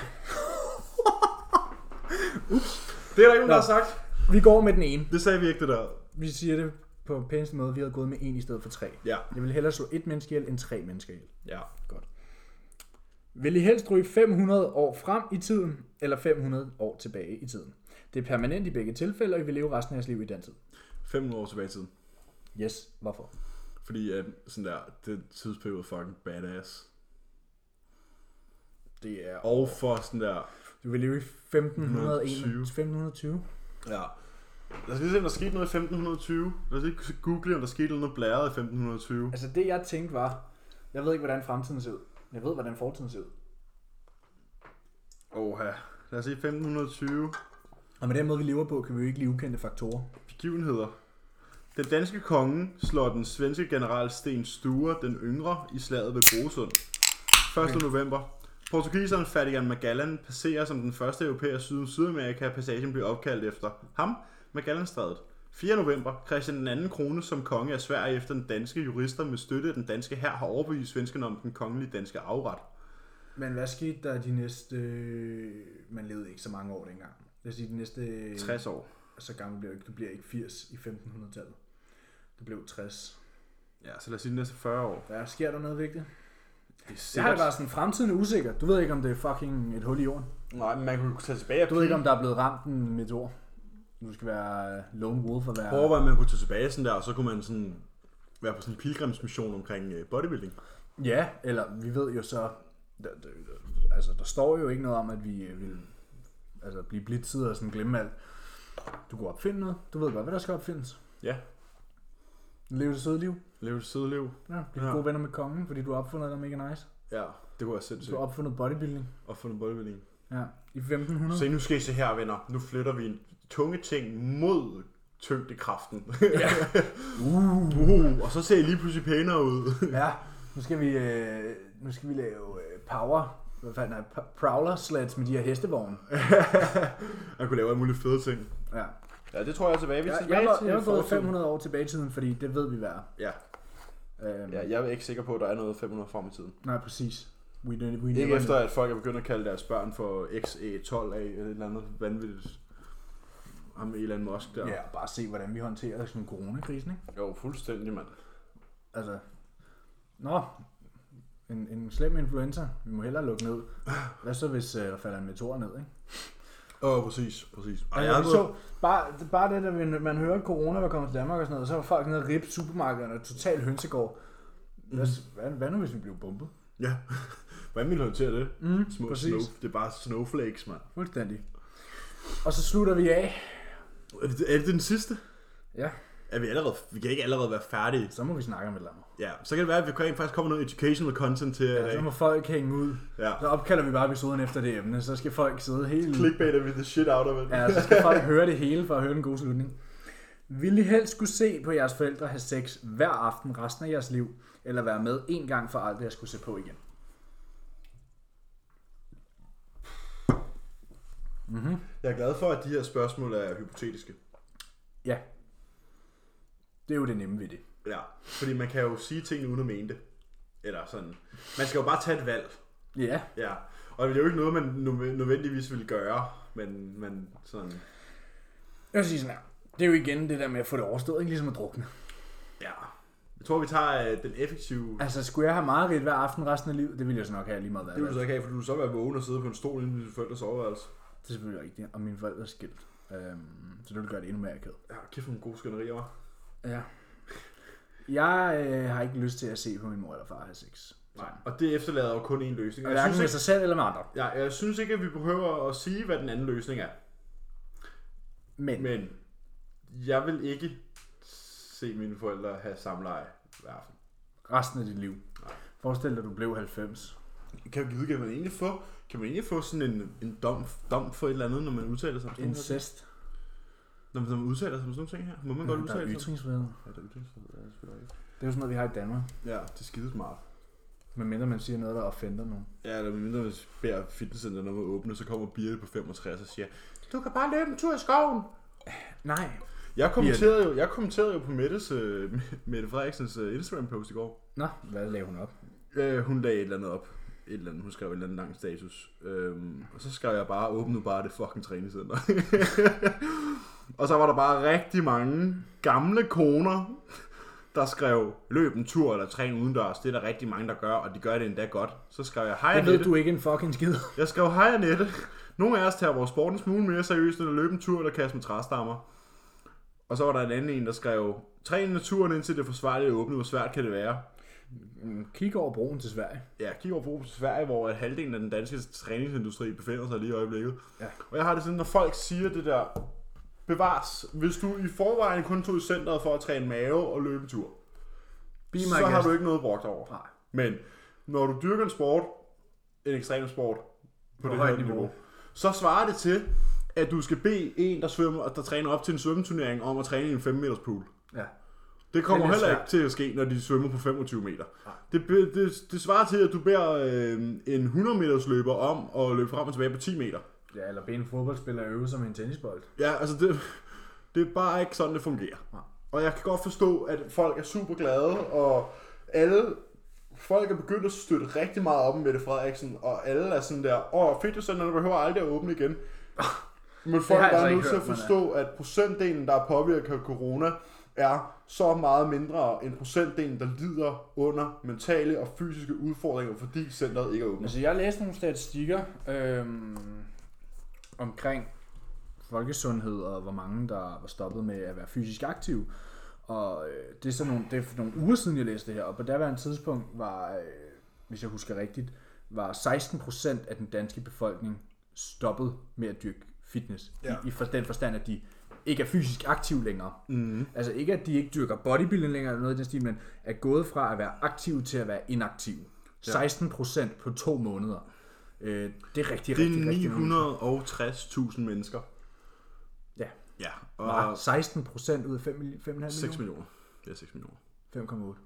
Det er der ikke
Nå.
nogen, der har sagt.
Vi går med den ene.
Det sagde vi ikke, det der.
Vi siger det på pæneste måde, vi havde gået med en i stedet for tre.
Ja.
Jeg vil hellere slå et menneske ihjel, end tre mennesker ihjel.
Ja.
Godt. Vil I helst ryge 500 år frem i tiden, eller 500 år tilbage i tiden? Det er permanent i begge tilfælde, og I vil leve resten af jeres liv i den tid.
500 år tilbage i tiden.
Yes, hvorfor?
Fordi at sådan der, det tidsperiode er fucking badass.
Det er...
Og for sådan der...
Du vil leve i 1521.
120.
1520.
Ja. Lad os lige se, om der skete noget i 1520. Lad os lige google, om der skete noget blæret i 1520.
Altså det jeg tænkte var, jeg ved ikke, hvordan fremtiden ser ud. Jeg ved, hvordan fortiden ser ud.
Oha. Lad os sige 1520.
Og med den måde, vi lever på, kan vi jo ikke lide ukendte faktorer.
Begivenheder. Den danske konge slår den svenske general Sten Sture den yngre i slaget ved Brosund. 1. november. Portugiseren Ferdinand Magellan passerer som den første europæer syd Sydamerika, passagen bliver opkaldt efter ham, Magellanstrædet. 4. november. Christian den anden krone som konge af Sverige efter den danske jurister med støtte af den danske hær har overbevist svenskerne om den kongelige danske afret.
Men hvad skete der de næste... Man levede ikke så mange år dengang. Lad os sige, de næste...
60 år.
Så gammel bliver du ikke. Du bliver ikke 80 i 1500-tallet. Du blev 60.
Ja, så lad os sige de næste 40 år.
Der sker der noget vigtigt.
Det er
Det har det bare sådan, fremtiden er usikker. Du ved ikke, om det er fucking et hul i jorden.
Nej, men man kunne tage tilbage og
Du ved ikke, om der er blevet ramt en meteor. Du skal være øh, lone wolf og være...
Prøv at overveje, om man kunne tage tilbage sådan der, og så kunne man sådan være på sådan en pilgrimsmission omkring øh, bodybuilding.
Ja, eller vi ved jo så... Der, der, der- altså, der står jo ikke noget om, at vi øh, vil altså, blive blitzet og sådan glemme alt. Du kunne opfinde noget. Du ved godt, hvad der skal opfindes.
Ja.
Leve det søde liv.
Leve et sødt liv.
Ja, blive
Ja.
ja. gode venner med kongen, fordi du har opfundet noget mega nice.
Ja, det kunne være
Du
sindssygt.
har opfundet bodybuilding.
Og få noget bodybuilding.
Ja, i 1500.
Se, nu skal I se her, venner. Nu flytter vi en tunge ting mod tyngdekraften. Ja. uh, uh, og så ser I lige pludselig pænere ud.
Ja, nu skal vi, øh, nu skal vi lave øh, power, hvad fanden er det? prowler sleds med de her hestevogne.
Man kunne lave alle mulige fede ting.
Ja.
Ja, det tror jeg er tilbage. Vi
Jeg, jeg, var, jeg var gået 500 år tilbage i tiden, fordi det ved vi hvad er.
Ja.
Øhm, ja, ja.
jeg er ikke sikker på, at der er noget 500 frem i tiden.
Nej, præcis. We, ne- we
Ikke
never
efter,
know.
at folk er begyndt at kalde deres børn for XE12A eller et eller andet vanvittigt. Ham Elon Musk der.
Ja, bare se, hvordan vi håndterer sådan coronakrisen, ikke?
Jo, fuldstændig, mand.
Altså, nå, en, en slem influenza. Vi må hellere lukke ned. Hvad så, hvis øh, der falder en meteor ned, ikke?
Åh, oh, præcis, præcis. Ej, jeg
Altså,
har
vi
gået...
så, bare, det- bare det, at man, man hører, at corona var kommet til Danmark og sådan noget, så var folk nede og ribbe supermarkederne og totalt hønsegård. Hvad, hvad, hvad, nu, hvis vi blev bombet?
Ja. Hvordan vil du håndtere det?
Mm,
Små
præcis.
snow... Det er bare snowflakes, mand.
Fuldstændig. Og så slutter vi af.
Er det, er det den sidste?
Ja,
Er vi allerede... Vi kan ikke allerede være færdige.
så må vi snakke om et eller andet.
Ja, så kan det være, at vi kan faktisk kommer noget educational content til øh, ja,
Ja, så må folk hænge ud.
ja.
Så opkalder vi bare episoden efter det emne, så skal folk sidde helt...
Clickbaiter vi the shit out of it.
Ja, så skal folk høre det hele for at høre den gode slutning. Vil I helst skulle se på jeres forældre have sex hver aften resten af jeres liv, eller være med en gang for aldrig at skulle se på igen?
Jeg er glad for, at de her spørgsmål er hypotetiske.
Ja. Det er jo det nemme ved det.
Ja, fordi man kan jo sige ting uden at mene det. Eller sådan. Man skal jo bare tage et valg.
Ja,
Ja, og det er jo ikke noget, man nø- nødvendigvis ville gøre, men, men sådan,
jeg vil sige sådan her. Det er jo igen det der med at få det overstået, ikke ligesom at drukne.
ja. Jeg tror, vi tager øh, den effektive...
Altså, skulle jeg have mareridt hver aften resten af livet, det ville jeg så nok have lige meget været.
Det vil du så ikke have, for du vil så være vågen og sidde på en stol inde i dine forældres overværelse.
Det er selvfølgelig rigtigt, og mine forældre er skilt. Øhm, så det vil gøre det endnu mere akavet.
Ja, kæft nogle gode skænderier, var.
Ja. Jeg øh, har ikke lyst til at se på min mor eller far have sex.
Nej. Og det efterlader jo kun én løsning. Og jeg
Hverken med
synes, ikke,
sig selv eller med andre.
ja, jeg synes ikke, at vi behøver at sige, hvad den anden løsning er.
Men, Men.
Men jeg vil ikke se mine forældre have samleje hver aften.
resten af dit liv. Forestil dig, at du blev 90.
Kan, vide, kan man egentlig få, kan man egentlig få sådan en, en dom, dom for et eller andet, når man udtaler sig om sådan noget?
Incest.
Når man, når man udtaler sig om sådan nogle ting her? Må man
Der
godt
er
udtale sig?
ytringsfrihed.
Ja, der er ytringsfrihed. Ja, selvfølgelig ikke.
Det er jo sådan noget, vi har i Danmark.
Ja, det er skide smart.
Medmindre man siger noget, der offender nogen.
Ja, eller mindre hvis beder fitnesscenteret om at åbne, så kommer Birte på 65 og siger, du kan bare løbe en tur i skoven.
Nej.
Jeg kommenterede jo, jeg kommenterede jo på Mettes, øh, Mette Frederiksens øh, Instagram-post i går.
Nå, hvad lavede hun op?
Øh, hun lagde et eller andet op. Et eller andet, hun skrev et eller andet lang status. Øhm, og så skrev jeg bare, åbn nu bare det fucking træningscenter. og så var der bare rigtig mange gamle koner, der skrev, løb en tur eller træn udendørs. Det er der rigtig mange, der gør, og de gør det endda godt. Så skrev jeg, hej
Det ved
Mette.
du ikke en fucking skid.
Jeg skrev, hej Annette. Nogle af os tager vores sport en smule mere seriøst, end at løbe en tur eller kaste med træstammer. Og så var der en anden en, der skrev, træn i naturen indtil det er forsvarligt at åbne, hvor svært kan det være?
Mm, Kig over broen til Sverige.
Ja, kig over på Sverige, hvor at halvdelen af den danske træningsindustri befinder sig lige i øjeblikket.
Ja.
Og jeg har det sådan, når folk siger det der, bevares, hvis du i forvejen kun tog i centret for at træne mave og løbe en tur,
Be my
så har
guest.
du ikke noget brugt over.
Nej.
Men når du dyrker en sport, en ekstrem sport, på, på det her
højt
niveau,
niveau.
så svarer det til, at du skal bede en, der, svømmer, der træner op til en svømmeturnering, om at træne i en 5 meters pool.
Ja.
Det kommer
Det er lidt
heller ikke
svært.
til at ske, når de svømmer på 25 meter.
Nej.
Det, be- det, det svarer til, at du beder øh, en 100 meters løber om at løbe frem og tilbage på 10 meter.
Ja, eller bede en fodboldspiller øve som en tennisbold.
Ja, altså det, det er bare ikke sådan, det fungerer.
Nej.
Og jeg kan godt forstå, at folk er super glade, og alle folk er begyndt at støtte rigtig meget op med Mette Frederiksen, og alle er sådan der, åh, fitnesscenterne behøver aldrig at åbne igen. Men folk
har
er
jeg altså
bare
ikke
nødt til at
hørt, men, øh.
forstå, at procentdelen, der er påvirket af corona, er så meget mindre end procentdelen, der lider under mentale og fysiske udfordringer, fordi centret ikke er åbent.
Altså, jeg læste nogle statistikker øhm, omkring folkesundhed og hvor mange, der var stoppet med at være fysisk aktive. Og øh, det er sådan nogle, det er for nogle uger siden, jeg læste det her, og på daværende tidspunkt var, øh, hvis jeg husker rigtigt, var 16% af den danske befolkning stoppet med at dyrke fitness. Ja.
Ja.
I, I for den forstand, at de ikke er fysisk aktive længere. Mm. Altså ikke, at de ikke dyrker bodybuilding længere eller noget i den stil, men er gået fra at være aktive til at være inaktive. 16% på to måneder. Øh, det er rigtig,
Det
rigtig, rigtig mange.
er 960.000 mennesker.
Ja.
Ja,
Var 16% ud af 5, 5,5 millioner?
6 millioner. Ja, 6 millioner.
5,8.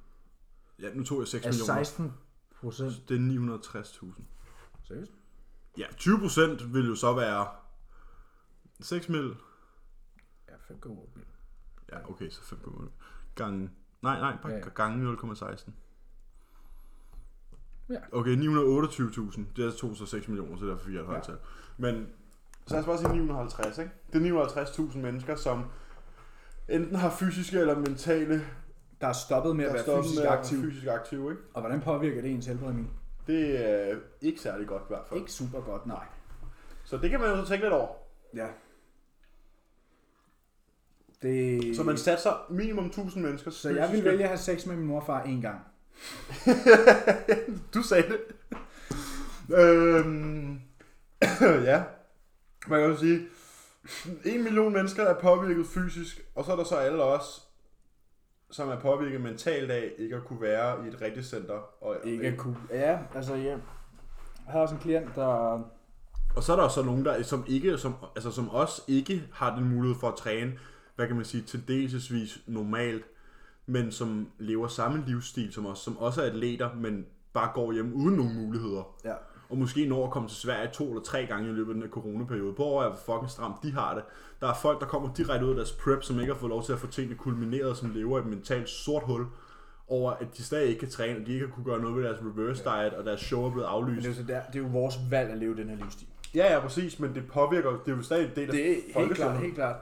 Ja, nu tog jeg 6
Er
millioner.
16 procent?
Det er 960.000.
Seriøst?
Ja, 20 procent vil jo så være 6 mil.
Ja, 5,8 millioner.
Ja, okay, så 5,8 gange... Nej, nej, bare
Ja,
ja,
ja.
gange 0,16.
Ja.
Okay, 928.000. Det er så tog så 6 millioner, så derfor fik jeg et højt
Ja.
tal. Men så lad os bare sige 950, ikke? Det er 950.000 mennesker, som enten har fysiske eller mentale...
Der er stoppet med at
der
være
stopper
fysisk
med at være
aktiv.
Fysisk aktive, ikke?
Og hvordan påvirker det ens helbred, min?
Det er ikke særlig godt i hvert fald.
Ikke super godt, nej.
Så det kan man jo så tænke lidt over.
Ja. Det...
Så man satser minimum 1000 mennesker.
så jeg vil vælge at have sex med min morfar en gang.
Du sagde det. øhm, ja. Man kan jo sige, en million mennesker er påvirket fysisk, og så er der så alle os, som er påvirket mentalt af ikke at kunne være i et rigtigt center. Og,
cool. Ja, altså ja. Jeg har også en klient, der...
og så er der også så nogen, der, som, ikke, som, altså, som os ikke har den mulighed for at træne, hvad kan man sige, til delsesvis normalt, men som lever samme livsstil som os, som også er atleter, men bare går hjem uden nogen muligheder.
Ja.
og måske når at komme til Sverige to eller tre gange i løbet af den her coronaperiode. På hvor er fucking stramt de har det. Der er folk, der kommer direkte ud af deres prep, som ikke har fået lov til at få tingene kulmineret, som lever i et mentalt sort hul over, at de stadig ikke kan træne, og de ikke har kunne gøre noget ved deres reverse diet, og deres show er blevet
Men det
aflyst.
er, jo så der, det er jo vores valg at leve den her livsstil.
Ja, ja, præcis, men det påvirker, det er jo stadig en del af
Det er helt klart,
folkesundheden.
helt klart.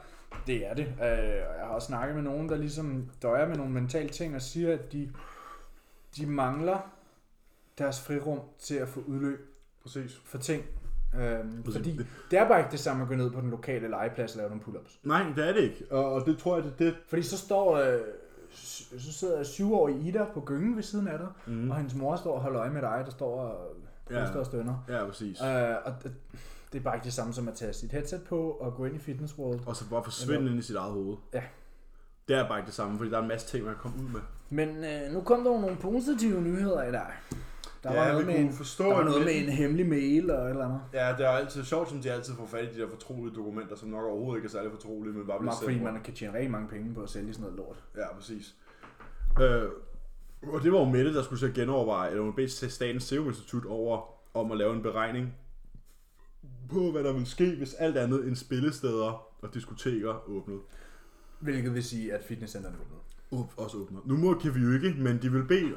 Det er det. Øh, og jeg har også snakket med nogen, der ligesom døjer med nogle mentale ting og siger, at de, de mangler deres frirum til at få udløb
Præcis.
for ting. Øhm,
Præcis.
fordi det er bare ikke det samme at gå ned på den lokale legeplads og lave nogle pull-ups.
Nej, det er det ikke, og, og det tror jeg, det, det
Fordi så står øh, så sidder der syvårig Ida på gyngen ved siden af dig,
Mm.
mm. og hendes mor står og holder øje med dig, der står og
Ja.
puster ja. og stønner.
Ja, præcis.
Øh, og det, det er bare ikke det samme som at tage sit headset på og gå ind i Fitness World.
Og så bare forsvinde ind i sit eget hoved.
Ja.
Det er bare ikke det samme, fordi der er en masse ting, man kan komme ud med.
Men øh, nu kom der jo nogle positive nyheder i dag. Der var,
ja,
noget
vi
med,
kunne
en,
forstå,
der var
at
noget med
lidt-
en hemmelig mail og et eller andet.
Ja, det er altid sjovt, som de altid får fat i de der fortrolige dokumenter, som nok overhovedet ikke er særlig fortrolige, men bare bliver
Mark
sendt rundt.
Friedman kan tjene rigtig mange penge på at sælge sådan noget lort.
Ja, præcis. Øh, og det var jo Mette, der skulle så genoverveje, eller hun bedte Statens Serum Institut over, om at lave en beregning på, hvad der ville ske, hvis alt andet end spillesteder og diskoteker åbnede.
Hvilket vil sige, at fitnesscenterne åbnede.
Op, også åbner. Nu må, kan vi jo ikke, men de vil bede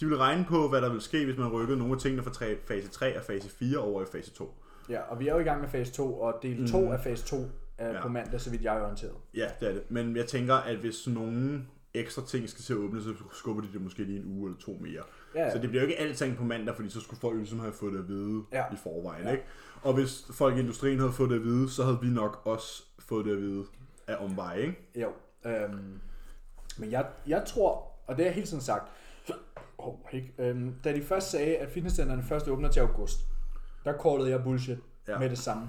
de vil regne på, hvad der vil ske, hvis man rykkede nogle af tingene fra tre, fase 3 og fase 4 over i fase 2.
Ja, og vi er jo i gang med fase 2, og del 2 mm. af fase 2 er
Mhm. Ja.
ja. på mandag, så vidt jeg er orienteret.
Ja, det er det. Men jeg tænker, at hvis nogen ekstra ting skal til at åbne, så skubber de det måske lige en uge eller to mere.
Ja.
Så det bliver jo ikke alting på mandag, fordi så skulle folk jo ligesom have fået det at vide ja.
Ja.
i forvejen. Ja. Ikke? Og hvis folk i industrien havde fået det at vide, så havde vi nok også fået det at vide af omveje. Ikke?
Jo. Øhm, men jeg, jeg tror, og det har jeg hele tiden sagt, oh, ikke? Øhm, da de først sagde, at fitnesscenterne først åbner til august, der callede jeg bullshit
Ja.
ja. med det samme.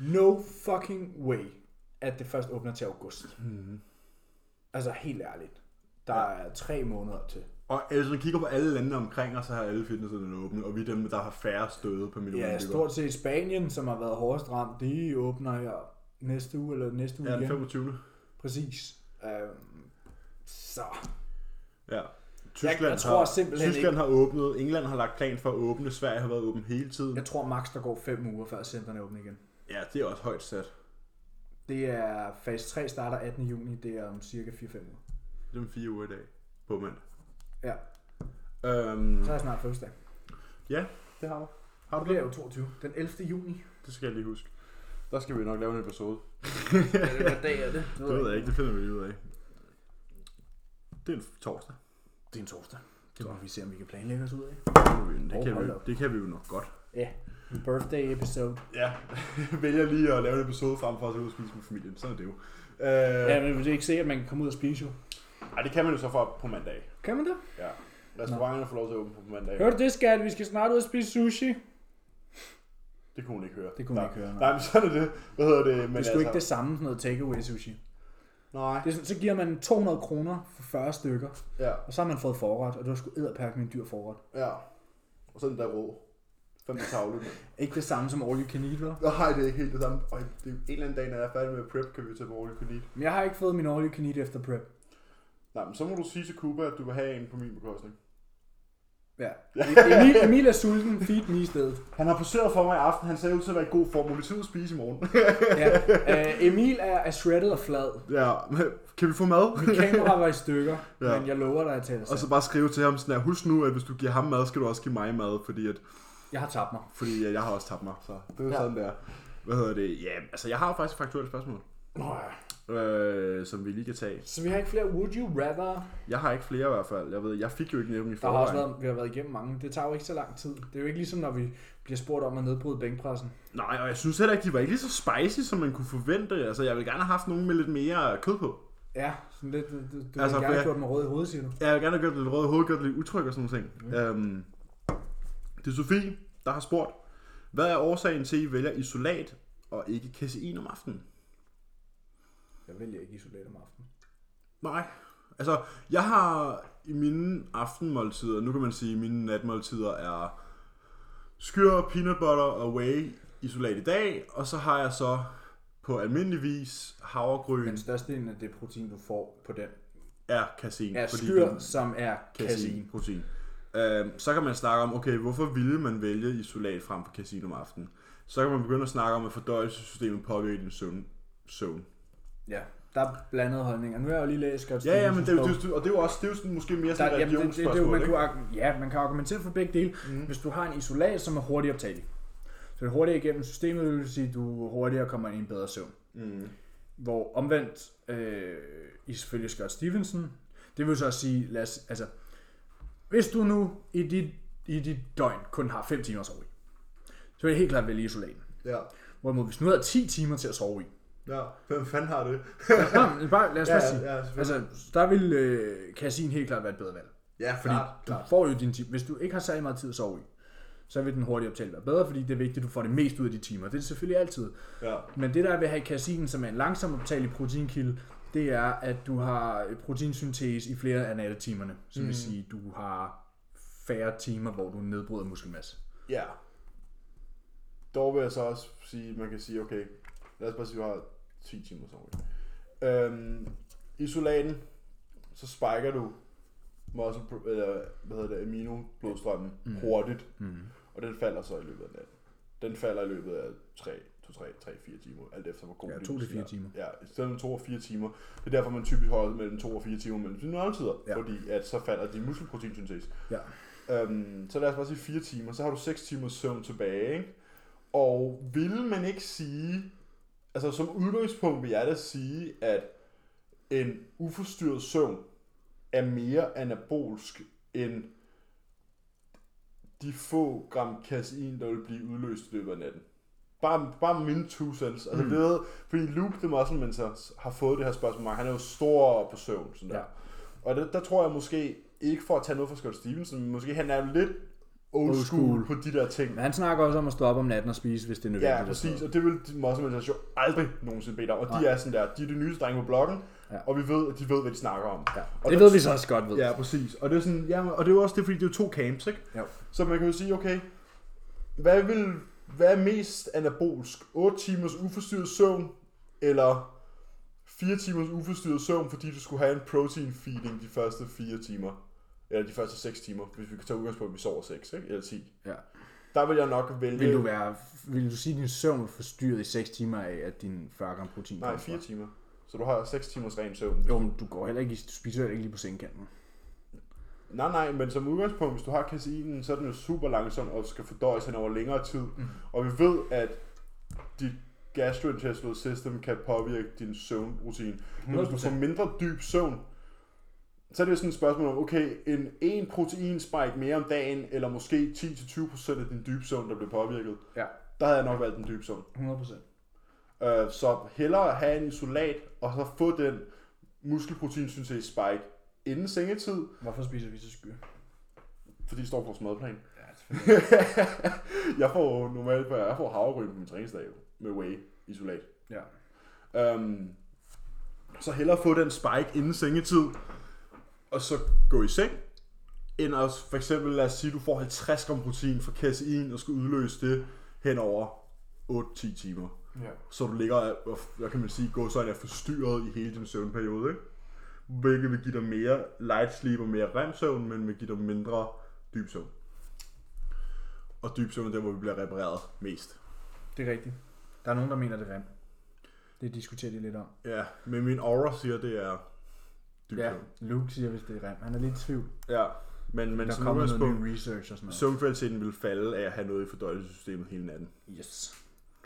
No fucking way, at det først åbner til august. Mm.
Mhm.
Altså helt ærligt. Der ja. er tre måneder til.
Og altså, når vi kigger på alle landene omkring os, så har alle fitnesserne åbne, og vi er dem, der har færre støde per million
Ja,
indbyggere.
stort set Spanien, som har været hårdest ramt, de åbner her næste uge eller næste uge
Ja, den
igen.
25.
Præcis. Øhm, så
Ja. Tyskland,
jeg tror
har,
simpelthen
Tyskland har åbnet, England har lagt plan for at åbne, Sverige har været åben hele tiden.
Jeg tror max der går 5 uger før centerne åbner igen.
Ja, det er også højt sat.
Det er fase 3 starter 18. juni, det er om cirka 4-5 uger.
Det er om fire uger i dag på mandag.
Ja,
Øhm,
så er jeg snart fødselsdag.
ja, det har du.
Nu
Har du det?
bliver jeg jo 22. Den 11. juni.
Det skal jeg lige huske. Der skal vi nok lave en episode.
Hvad dag er det?
Det ved jeg ikke, det finder vi lige ud af. Det er en torsdag.
Det er en torsdag. Det må vi se, om vi kan planlægge os ud af.
Det kan vi, det kan vi,
hold op.
det kan vi jo nok godt.
Ja, en birthday episode.
Ja, vælger lige at lave en episode frem for at tage ud og spise med familien. Sådan er det jo. Øh,
Ja, men det er ikke sikkert, at man kan komme ud og spise jo.
Ej, det kan man jo så for på mandag.
Kan man det?
Ja. Restauranterne får lov til at åbne på mandag.
Hør du det, skat? Vi skal snart ud og spise sushi.
Det kunne hun ikke høre.
Det kunne hun
Nej.
ikke høre, nej.
Nej, men sådan er det. Hvad hedder det? Men altså-
Det er sgu ikke det samme, sådan noget takeaway sushi.
Nej.
Det er sådan, så giver man 200 kroner for 40 stykker,
Ja,
og så har man fået forret, og du har sgu edderpærk med en dyr forret.
ja. Og sådan der rå. Fem til tavle. mand.
Ikke det samme som all you can eat, hva'?
Nej, det er ikke helt det samme. Og det er en eller anden dag, når jeg er færdig med prep, kan vi tage på All Eat.
Men jeg har ikke fået min all you can eat efter prep.
Nej, men så må du sige til Cuba, at du vil have en på min bekostning.
Ja. E- Emil, Emil er sulten, feed me i stedet.
Han har poseret for mig i aften. Han ser ud til at være i god form. Hun vil til at spise i morgen.
Ja. Øh, Emil er, er shredded og flad.
ja, kan vi få mad?
Mit kamera var i stykker,
Ja.
ja. men jeg lover dig, at jeg taler
Og
sandt.
så bare skrive til ham sådan her, husk nu, at hvis du giver ham mad, skal du også give mig mad, fordi, at,
Jeg har tabt mig.
fordi at jeg har også tabt mig. Så det er jo
Ja.
sådan der. Hvad hedder det? Ja, altså jeg har faktisk et faktuelt spørgsmål, øh, som vi lige kan tage.
Så vi har ikke flere would you rather.
Jeg har ikke flere i hvert fald. Jeg ved, jeg fik jo ikke nævnt i
Der har også
forvejen.
været, vi har været igennem mange. Det tager jo ikke så lang tid. Det er jo ikke ligesom, når vi bliver spurgt om at nedbryde bænkpressen.
Nej, og jeg synes heller ikke, de var ikke lige så spicy, som man kunne forvente. Altså, jeg ville gerne have haft nogen med lidt mere kød på.
Ja, sådan lidt, du, du altså,
Altså,
har
for
gerne
jeg-
jeg... gjort mig rød i hovedet, siger du.
Jeg vil gerne have gjort det lidt røde hoved, gjort det lidt utryg og sådan noget.
Mm.
ting. Øhm, det er Sofie, der har spurgt, hvad er årsagen til, at I vælger isolat og ikke kasein om aftenen?
Jeg vælger ikke isolere om aftenen.
Nej. Altså, jeg har i mine aftenmåltider, nu kan man sige, at mine natmåltider er skyr, peanut butter og whey isolat i dag, og så har jeg så på almindelig vis havregryn
Den største del af det protein, du får på den,
er kasein.
er
fordi
skyr,
den-
som er
kasein.
kasein.
protein. Øhm, så kan man snakke om, okay, hvorfor ville man vælge isolat frem for kasein om aftenen? Så kan man begynde at snakke om, at fordøjelsessystemet påvirker din søvn. søvn.
Ja, der er blandede holdninger. Nu har jeg jo lige læst Scott
Ja, ja, men det, er jo-
Stephensons
det, er jo- og det er jo også det er jo sådan, måske mere sådan
ligesom Der,
et
jamen, det, det, det, er jo,
religionsspørgsmål,
man
ikke?
kunne, argu- ja, man kan argumentere for begge dele. Mm. Hvis du har en isolat, som er hurtigt optagelig, så det er hurtigere igennem systemet, det vil sige, at du hurtigere kommer ind i en bedre søvn.
Mm.
Hvor omvendt, øh, ifølge Scott Stevenson, det vil så sige, lad os, altså, hvis du nu i dit, i dit døgn kun har 5 timer at sove i, så vil jeg helt klart vælge isolaten.
Ja.
Hvorimod hvis du nu havde 10 timer til at sove i,
Ja, hvem fanden har det?
Nå, men bare, lad os
Ja,
bare sige.
ja, selvfølgelig.
altså, der vil øh, kasin helt klart være et bedre valg.
Ja,
Fordi
klart,
du
klart.
får jo din time. Hvis du ikke har særlig meget tid at sove i, så vil den hurtige optale være bedre, fordi det er vigtigt, at du får det mest ud af de timer. Det er det selvfølgelig altid.
Ja.
Men det der vil have i kasinen, som er en langsom optagelig proteinkilde, det er, at du har øh, proteinsyntese i flere af nattetimerne. Så
Mm.
det vil sige, at du har færre timer, hvor du nedbryder muskelmasse.
Ja. Dog vil jeg så også sige, man kan sige, okay, lad os bare sige, at du har 10 timer sov. Øhm, isolaten, så spiker du muscle, pro- eller, hvad hedder det, amino blodstrømmen mm. hurtigt, mm. og den falder så i løbet af natten. Den falder i løbet af 3, 2, 3, 3, 4 timer, alt efter hvor god
Ja,
din
to til
muskel
fire
er.
timer.
Ja, i stedet for 2 og 4 timer. Det er derfor, man typisk holder mellem 2 og 4 timer mellem sine måltider,
Ja.
ja. fordi at så falder din muskelproteinsyntese.
Ja.
Øhm, så lad os bare sige 4 timer, så har du 6 timers søvn tilbage, ikke? Og vil man ikke sige, altså som udgangspunkt vil jeg da sige, at en uforstyrret søvn er mere anabolsk end de få gram kasein, der vil blive udløst i løbet af natten. Bare, bare mine two cents. Altså, mm. det ved, fordi Luke the Muscle Mentor har fået det her spørgsmål. Han er jo stor på søvn. Sådan der.
Ja.
Ja. Og der, der, tror jeg måske, ikke for at tage noget fra Scott Stevenson, men måske han er jo lidt old,
Old
old
school.
school, på de der ting.
Men han snakker også om at stå op om natten og spise, hvis det er nødvendigt.
Ja, præcis. Og det vil de Muscle Mentors jo aldrig nogensinde bede om. Og de er sådan der, de er de nyeste drenge på bloggen,
Ja.
ja. og vi ved, at de ved, hvad de snakker om.
Ja.
Og
Det
der-
ved vi så også godt ved.
Ja, præcis. Og det er, sådan, ja, og det er jo også det, fordi det er jo to camps, ikke?
Jo.
Så man kan jo sige, okay, hvad, vil, hvad er mest anabolsk? 8 timers uforstyrret søvn, eller 4 timers uforstyrret søvn, fordi du skulle have en protein feeding de første 4 timer? Eller de første 6 timer, hvis vi kan tage udgangspunkt, i, at vi sover 6, ikke? eller 10.
Ja.
Der vil jeg nok vælge...
Vil du, være, vil du sige, at din søvn er forstyrret i 6 timer af, at din 40 gram protein
Nej,
kommer fra?
4 timer. Så du har 6 timers ren søvn.
Jo, men du går heller ikke, i- du spiser heller ikke lige på sengekanten.
Nej, nej, men som udgangspunkt, hvis du har kaseinen, så er den jo super langsom og skal fordøjes hen over længere tid. Mm. Og vi ved, at dit gastrointestinal system kan påvirke din søvnrutine. Men hvis du får mindre dyb søvn, så er det jo sådan et spørgsmål om, okay, en, en protein spike mere om dagen, eller måske 10-20% af din dybe søvn, der bliver påvirket.
Ja,
Der havde jeg nok valgt den dybe søvn.
100%.
Øh, så hellere have en isolat, og så få den muskelproteinsyntese spike inden sengetid,
Hvorfor spiser vi så sky?
fordi det står på vores madplan.
Ja, selvfølgelig.
jeg får normalt, jeg får havregryn på min træningsdag jo, med whey isolat.
ja.
Um, så hellere få den spike inden sengetid, og så gå i seng, end at for eksempel, lad os sige, du får 50 gram protein fra kasein, og skal udløse det hen over 8-10 timer.
ja.
Så du ligger, og hvad kan man sige, går sådan er forstyrret i hele din søvnperiode, ikke? Hvilket vil give dig mere light sleep og mere REM-søvn, men vil give dig mindre dyb søvn. Og dyb søvn er der, hvor vi bliver repareret mest.
Det er rigtigt. Der er nogen, der mener, det er rem. Det diskuterer de lidt om.
Ja, men min aura siger, det er dyb
Ja,
søvn.
Luke siger, hvis det er rem. Han er lidt i tvivl.
Ja, men, men
Der
som
kommer noget
udgangspunkt,
ny research og sådan noget.
søvnkvaliteten vil falde af at have noget i fordøjelsessystemet hele natten.
Yes.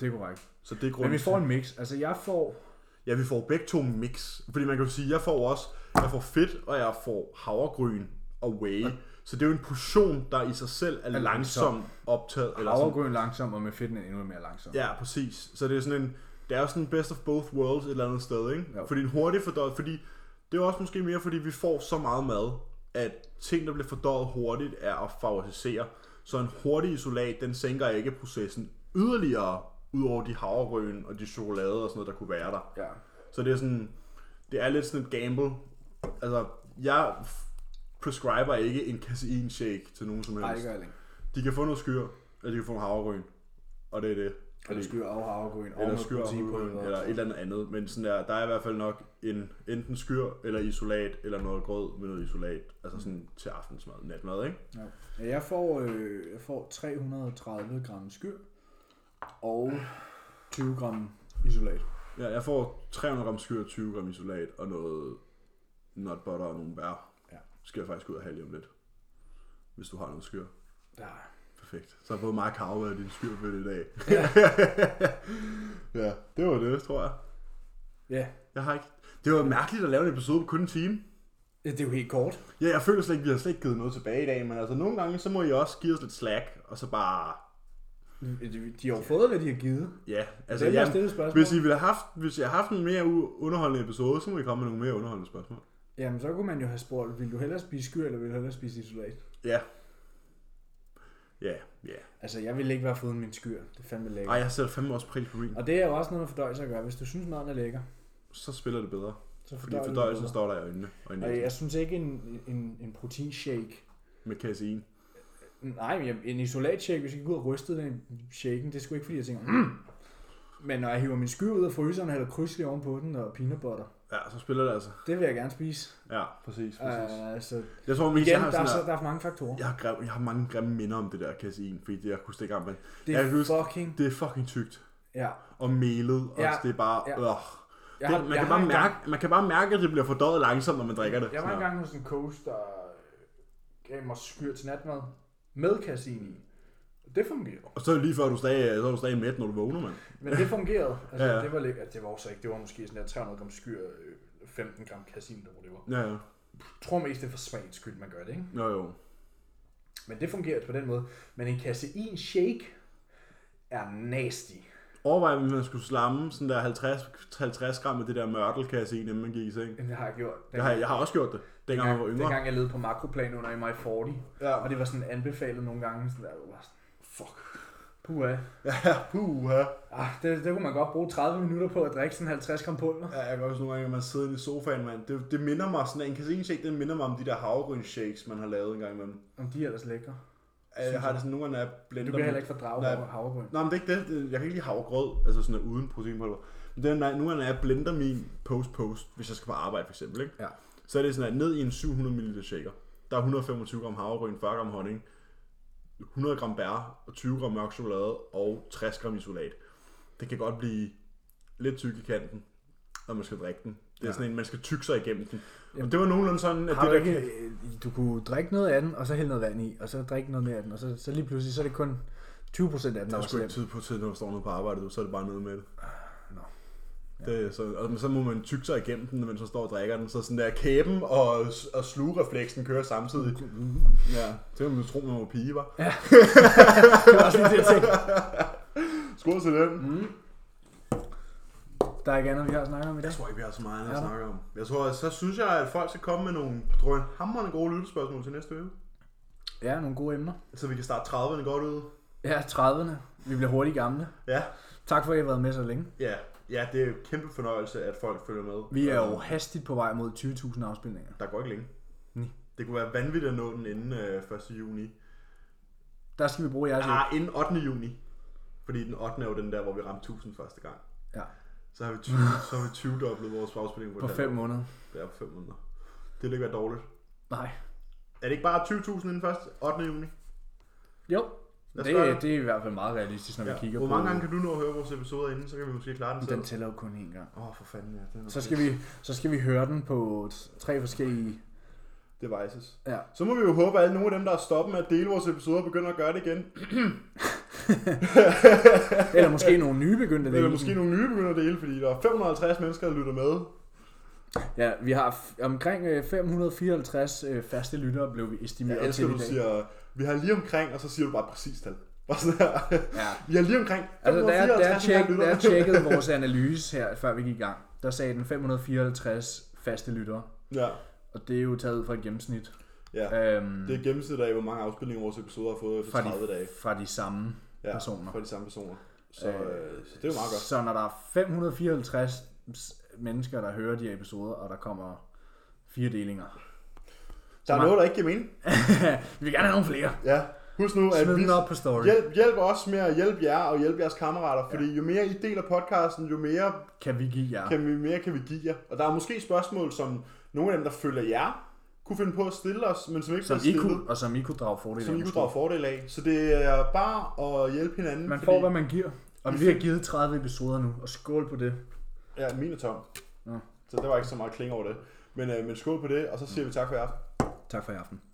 Det er korrekt.
Så det er grunden
Men vi
til-
får en mix. Altså, jeg får...
Ja, vi får begge to mix. Fordi man kan jo sige, jeg får også, jeg får fedt, og jeg får havregryn og whey. Så det er jo en portion, der i sig selv er langsomt optaget. Eller sådan.
Havregryn langsom, og med fedten er endnu mere langsom.
Ja, præcis. Så det er sådan en, det er jo sådan en best of both worlds et eller andet sted, ikke?
Jo.
Fordi en hurtig fordøjet, fordi det er jo også måske mere, fordi vi får så meget mad, at ting, der bliver fordøjet hurtigt, er at favorisere. Så en hurtig isolat, den sænker ikke processen yderligere, udover de havregryn og de chokolade og sådan noget, der kunne være der.
ja.
Så det er sådan, det er lidt sådan et gamble. Altså, jeg prescriber ikke en casein shake til nogen som
Ej, det
helst.
gør jeg ikke.
De kan få noget skyr, eller de kan få noget havregryn. Og det er det.
Eller skyr og havregryn. og
Eller
noget
skyr
proteinpulver.
havregryn, eller et eller andet andet. Men sådan der, der er i hvert fald nok en, enten skyr, eller isolat, eller noget grød med noget isolat. Altså sådan til aftensmad, natmad, ikke?
Ja. Jeg får, øh, jeg får 330 gram skyr og 20 gram isolat.
Ja, jeg får 300 gram skyr, 20 gram isolat, og noget nut butter og nogle bær.
Ja.
Skal jeg faktisk ud og have lige om lidt. Hvis du har noget skyr.
Ja.
Perfekt. Så har både mig og Karo været din skyr på det i dag. Ja. ja, det var det, tror jeg.
ja.
Jeg har ikke... Det var mærkeligt at lave en episode på kun en time.
Det er jo helt kort.
Ja, jeg føler slet ikke, vi har slet ikke givet noget tilbage i dag, men altså nogle gange, så må I også give os lidt slack, og så bare
De, de har jo fået, hvad de har givet.
Ja,
Altså,
altså
det er
jeg,
stillet spørgsmål.
hvis, I ville have haft, hvis jeg havde haft en mere u- underholdende episode, så må I komme med nogle mere underholdende spørgsmål.
Jamen, så kunne man jo have spurgt, vil du hellere spise skyr, eller vil du hellere spise isolat?
Ja. Ja, ja.
Altså, jeg ville ikke være fået min skyr. Det er fandme lækkert.
Ej, jeg sætter fandme også pris på min.
Og det er jo også noget med fordøjelse at gøre. Hvis du synes, maden er lækker,
Så spiller det bedre.
så
Fordi
fordøjer du
fordøjelsen
det
står der i øjnene og i
bedre. Og
næsen
jeg synes ikke, en, en, en proteinshake...
med casein.
Nej, men jeg- en isolatshake, hvis jeg gik ud og rystede den i shaken, det skulle ikke, fordi jeg tænker... Mm. Men når jeg hiver min skyr ud af fryseren og hælder krydslig oven på den og peanut butter,
Ja, så spiller det altså.
det vil jeg gerne spise.
Ja, præcis, præcis.
Uh, så
jeg tror, mest,
igen,
jeg har
der, er
sådan
så,
her,
der er for mange faktorer.
jeg har, grim, jeg har mange grimme minder om det der casein, fordi det, jeg kunne stikke om, men
Det
jeg kan huske-
er fucking...
det er fucking tykt
Ja,
og melet, og
Ja,
ja, det er bare,
ja.
ja. øh,
jeg
det, man,
jeg
kan bare
engang-
mærke, man kan bare mærke, at det bliver fordøjet langsomt, når man drikker det.
Jeg var
Sådan her.
engang hos en coach, der gav mig skyr til natmad med cassin i. Det fungerede.
Og så lige før du stadig, så er du stadig mæt, når du vågner, mand.
Men det fungerede. Altså, ja,
Ja,
ja.
ja.
Det var lækkert. Det var også ikke. Det var måske sådan der 300 gram skyr, øh, 15 gram cassin, eller hvor det var.
Ja, ja.
Jeg tror mest, det er for smagens skyld, man gør det, ikke?
Jo, jo.
Men det fungerede på den måde. Men en casein shake er nasty.
Overvej, hvis man skulle slamme sådan der 50, 50 gram af det der mørtel, kan jeg se, inden man gik i seng.
Men det har jeg gjort.
Jeg har, jeg har også gjort det, dengang jeg var yngre.
dengang jeg levede på makroplan under i mig 40.
Ja.
Og det var sådan anbefalet nogle gange. Sådan der, hvor jeg var sådan,
Fuck.
puha.
Ja, puha.
Ah, det, det, kunne man godt bruge 30 minutter på at drikke sådan 50 gram pulver.
Ja, jeg kan også nogle gange, at man sidder inde i sofaen, mand. Det, det minder mig sådan, en casino-shake, den minder mig om de der havregrynshakes, man har lavet en gang imellem.
Om de er ellers lækre.
Jeg har det sådan nogle gange, når jeg blender
Du kan
dem-
heller ikke fordrage
Nej.
havre- havregryn.
Nej, men det er ikke det. Jeg kan ikke lide havregrød, altså sådan uden proteinpulver. Men det er, når- nu når jeg blender min post-post, hvis jeg skal på arbejde for eksempel, ikke?
Ja.
så er det sådan, at ned i en 700 ml shaker, der er 125 gram havregryn, 40 gram honning, 100 gram bær, og 20 gram mørk chokolade og 60 gram isolat. Det kan godt blive lidt tyk i kanten, når man skal drikke den. Det er
Ja.
ja. sådan en, man skal tykke sig igennem den.
Jamen,
og det var nogenlunde sådan, at
Har
det
du,
der...
ikke, øh, du kunne drikke noget af den, og så hælde noget vand i, og så drikke noget mere af den, og så, så lige pludselig, så er det kun 20% af den,
Der
der
er
var
sgu
slem.
ikke tid på til, når du står nede på arbejde, du, så er det bare nede med det.
Ah, nå.
Det, er så, og så må man tykke sig igennem den, mens man står og drikker den. Så sådan der kæben og, og slugrefleksen kører samtidig.
Mm.
Ja, det kan man tro, man var pige, var.
Det var også lige det, jeg tænkte.
Skål til den. Mm.
Der er ikke andet, vi har snakket om i dag.
Jeg tror ikke, vi har så meget andet
Ja.
at snakke om. Jeg tror, at så synes jeg, at folk skal komme med nogle drøn hammerende gode lyttespørgsmål til næste uge.
Ja, nogle gode emner.
Så vi kan starte 30'erne godt ud.
Ja, 30'erne. Vi bliver hurtigt gamle.
Ja,
Tak for, at I har været med så længe.
ja. Ja, det er jo en kæmpe fornøjelse, at folk følger med.
Vi er jo
Øh,
hastigt på vej mod 20.000 afspilninger.
Der går ikke længe.
Nej.
Det kunne være vanvittigt at nå den inden øh, 1. juni.
Der skal vi bruge jeres hjælp.
Ah, inden 8. juni. Fordi den 8. er jo den der, hvor vi ramte 1000 første gang.
Ja.
Så har vi 20, så har vi 20 doblet vores afspilning på,
på
et halvt
5
år.
måneder.
Ja, på 5 måneder. Det ville ikke være dårligt.
Nej.
Er det ikke bare 20.000 inden først 8. juni?
Jo,
Lad os
det,
gøre det.
det er i hvert fald meget realistisk, når vi
Ja.
kigger
Hvor
på
mange gange kan du nå at høre vores episoder inden, så kan vi måske klare den selv.
Den tæller jo kun én gang.
Åh, oh, for fanden ja. Den er
Så skal, vi, så skal vi høre den på t- tre forskellige...
Devices.
Ja.
Så må vi jo håbe, at alle nogle af dem, der er stoppet med at dele vores episoder, begynder at gøre det igen.
Eller måske nogle nye begyndte at
Eller
dele
måske
den.
nogle nye begynder at dele, fordi der er 550 mennesker, der lytter med.
Ja, vi har f- omkring øh, 554 øh, faste lyttere, blev vi estimeret
Jeg elsker,
til
at
i
du
dag.
siger, vi har lige omkring, og så siger du bare præcis tal. Bare sådan her.
Ja.
Vi har lige omkring
Altså, da jeg, da, jeg
554
tjek, da
lyttere.
jeg tjekkede vores analyse her, før vi gik i gang, der sagde den 554 faste lyttere.
Ja,
Og det er jo taget ud fra et gennemsnit.
ja.
Øhm,
Det er gennemsnittet af, hvor mange afspilninger vores episoder har fået efter
fra
30
de,
dage.
fra de samme
Ja,
personer.
Fra de samme personer. Så, øh, så det er jo meget godt.
Så når der er 554 s- mennesker, der hører de her episoder, og der kommer fire delinger.
Der er
meget-
noget, der ikke giver mening.
vi vil gerne have nogle flere.
Ja. Husk nu, at
Smid
vi...
den op på story.
Hjælp, hjælp os med at hjælpe jer og hjælpe jeres kammerater, fordi jo mere I deler podcasten, jo mere
Kan vi give jer?
kan vi, mere kan vi give jer. Og der er måske spørgsmål, som nogle af dem, der følger jer, kunne finde på at stille os, men som ikke
Som
bliver
I
stillet,
kunne, og som I kunne drage fordel
som
af.
I kunne
måske.
drage fordel af. Så det er bare at hjælpe hinanden.
Man
fordi-
får, hvad man giver. Og vi har givet 30 episoder nu, og skål på det.
Ja, min er tom.
Nå.
Så der var ikke så meget kling over det. Men, øh, men skål på det, og så siger vi tak for i aften.
Tak for i aften.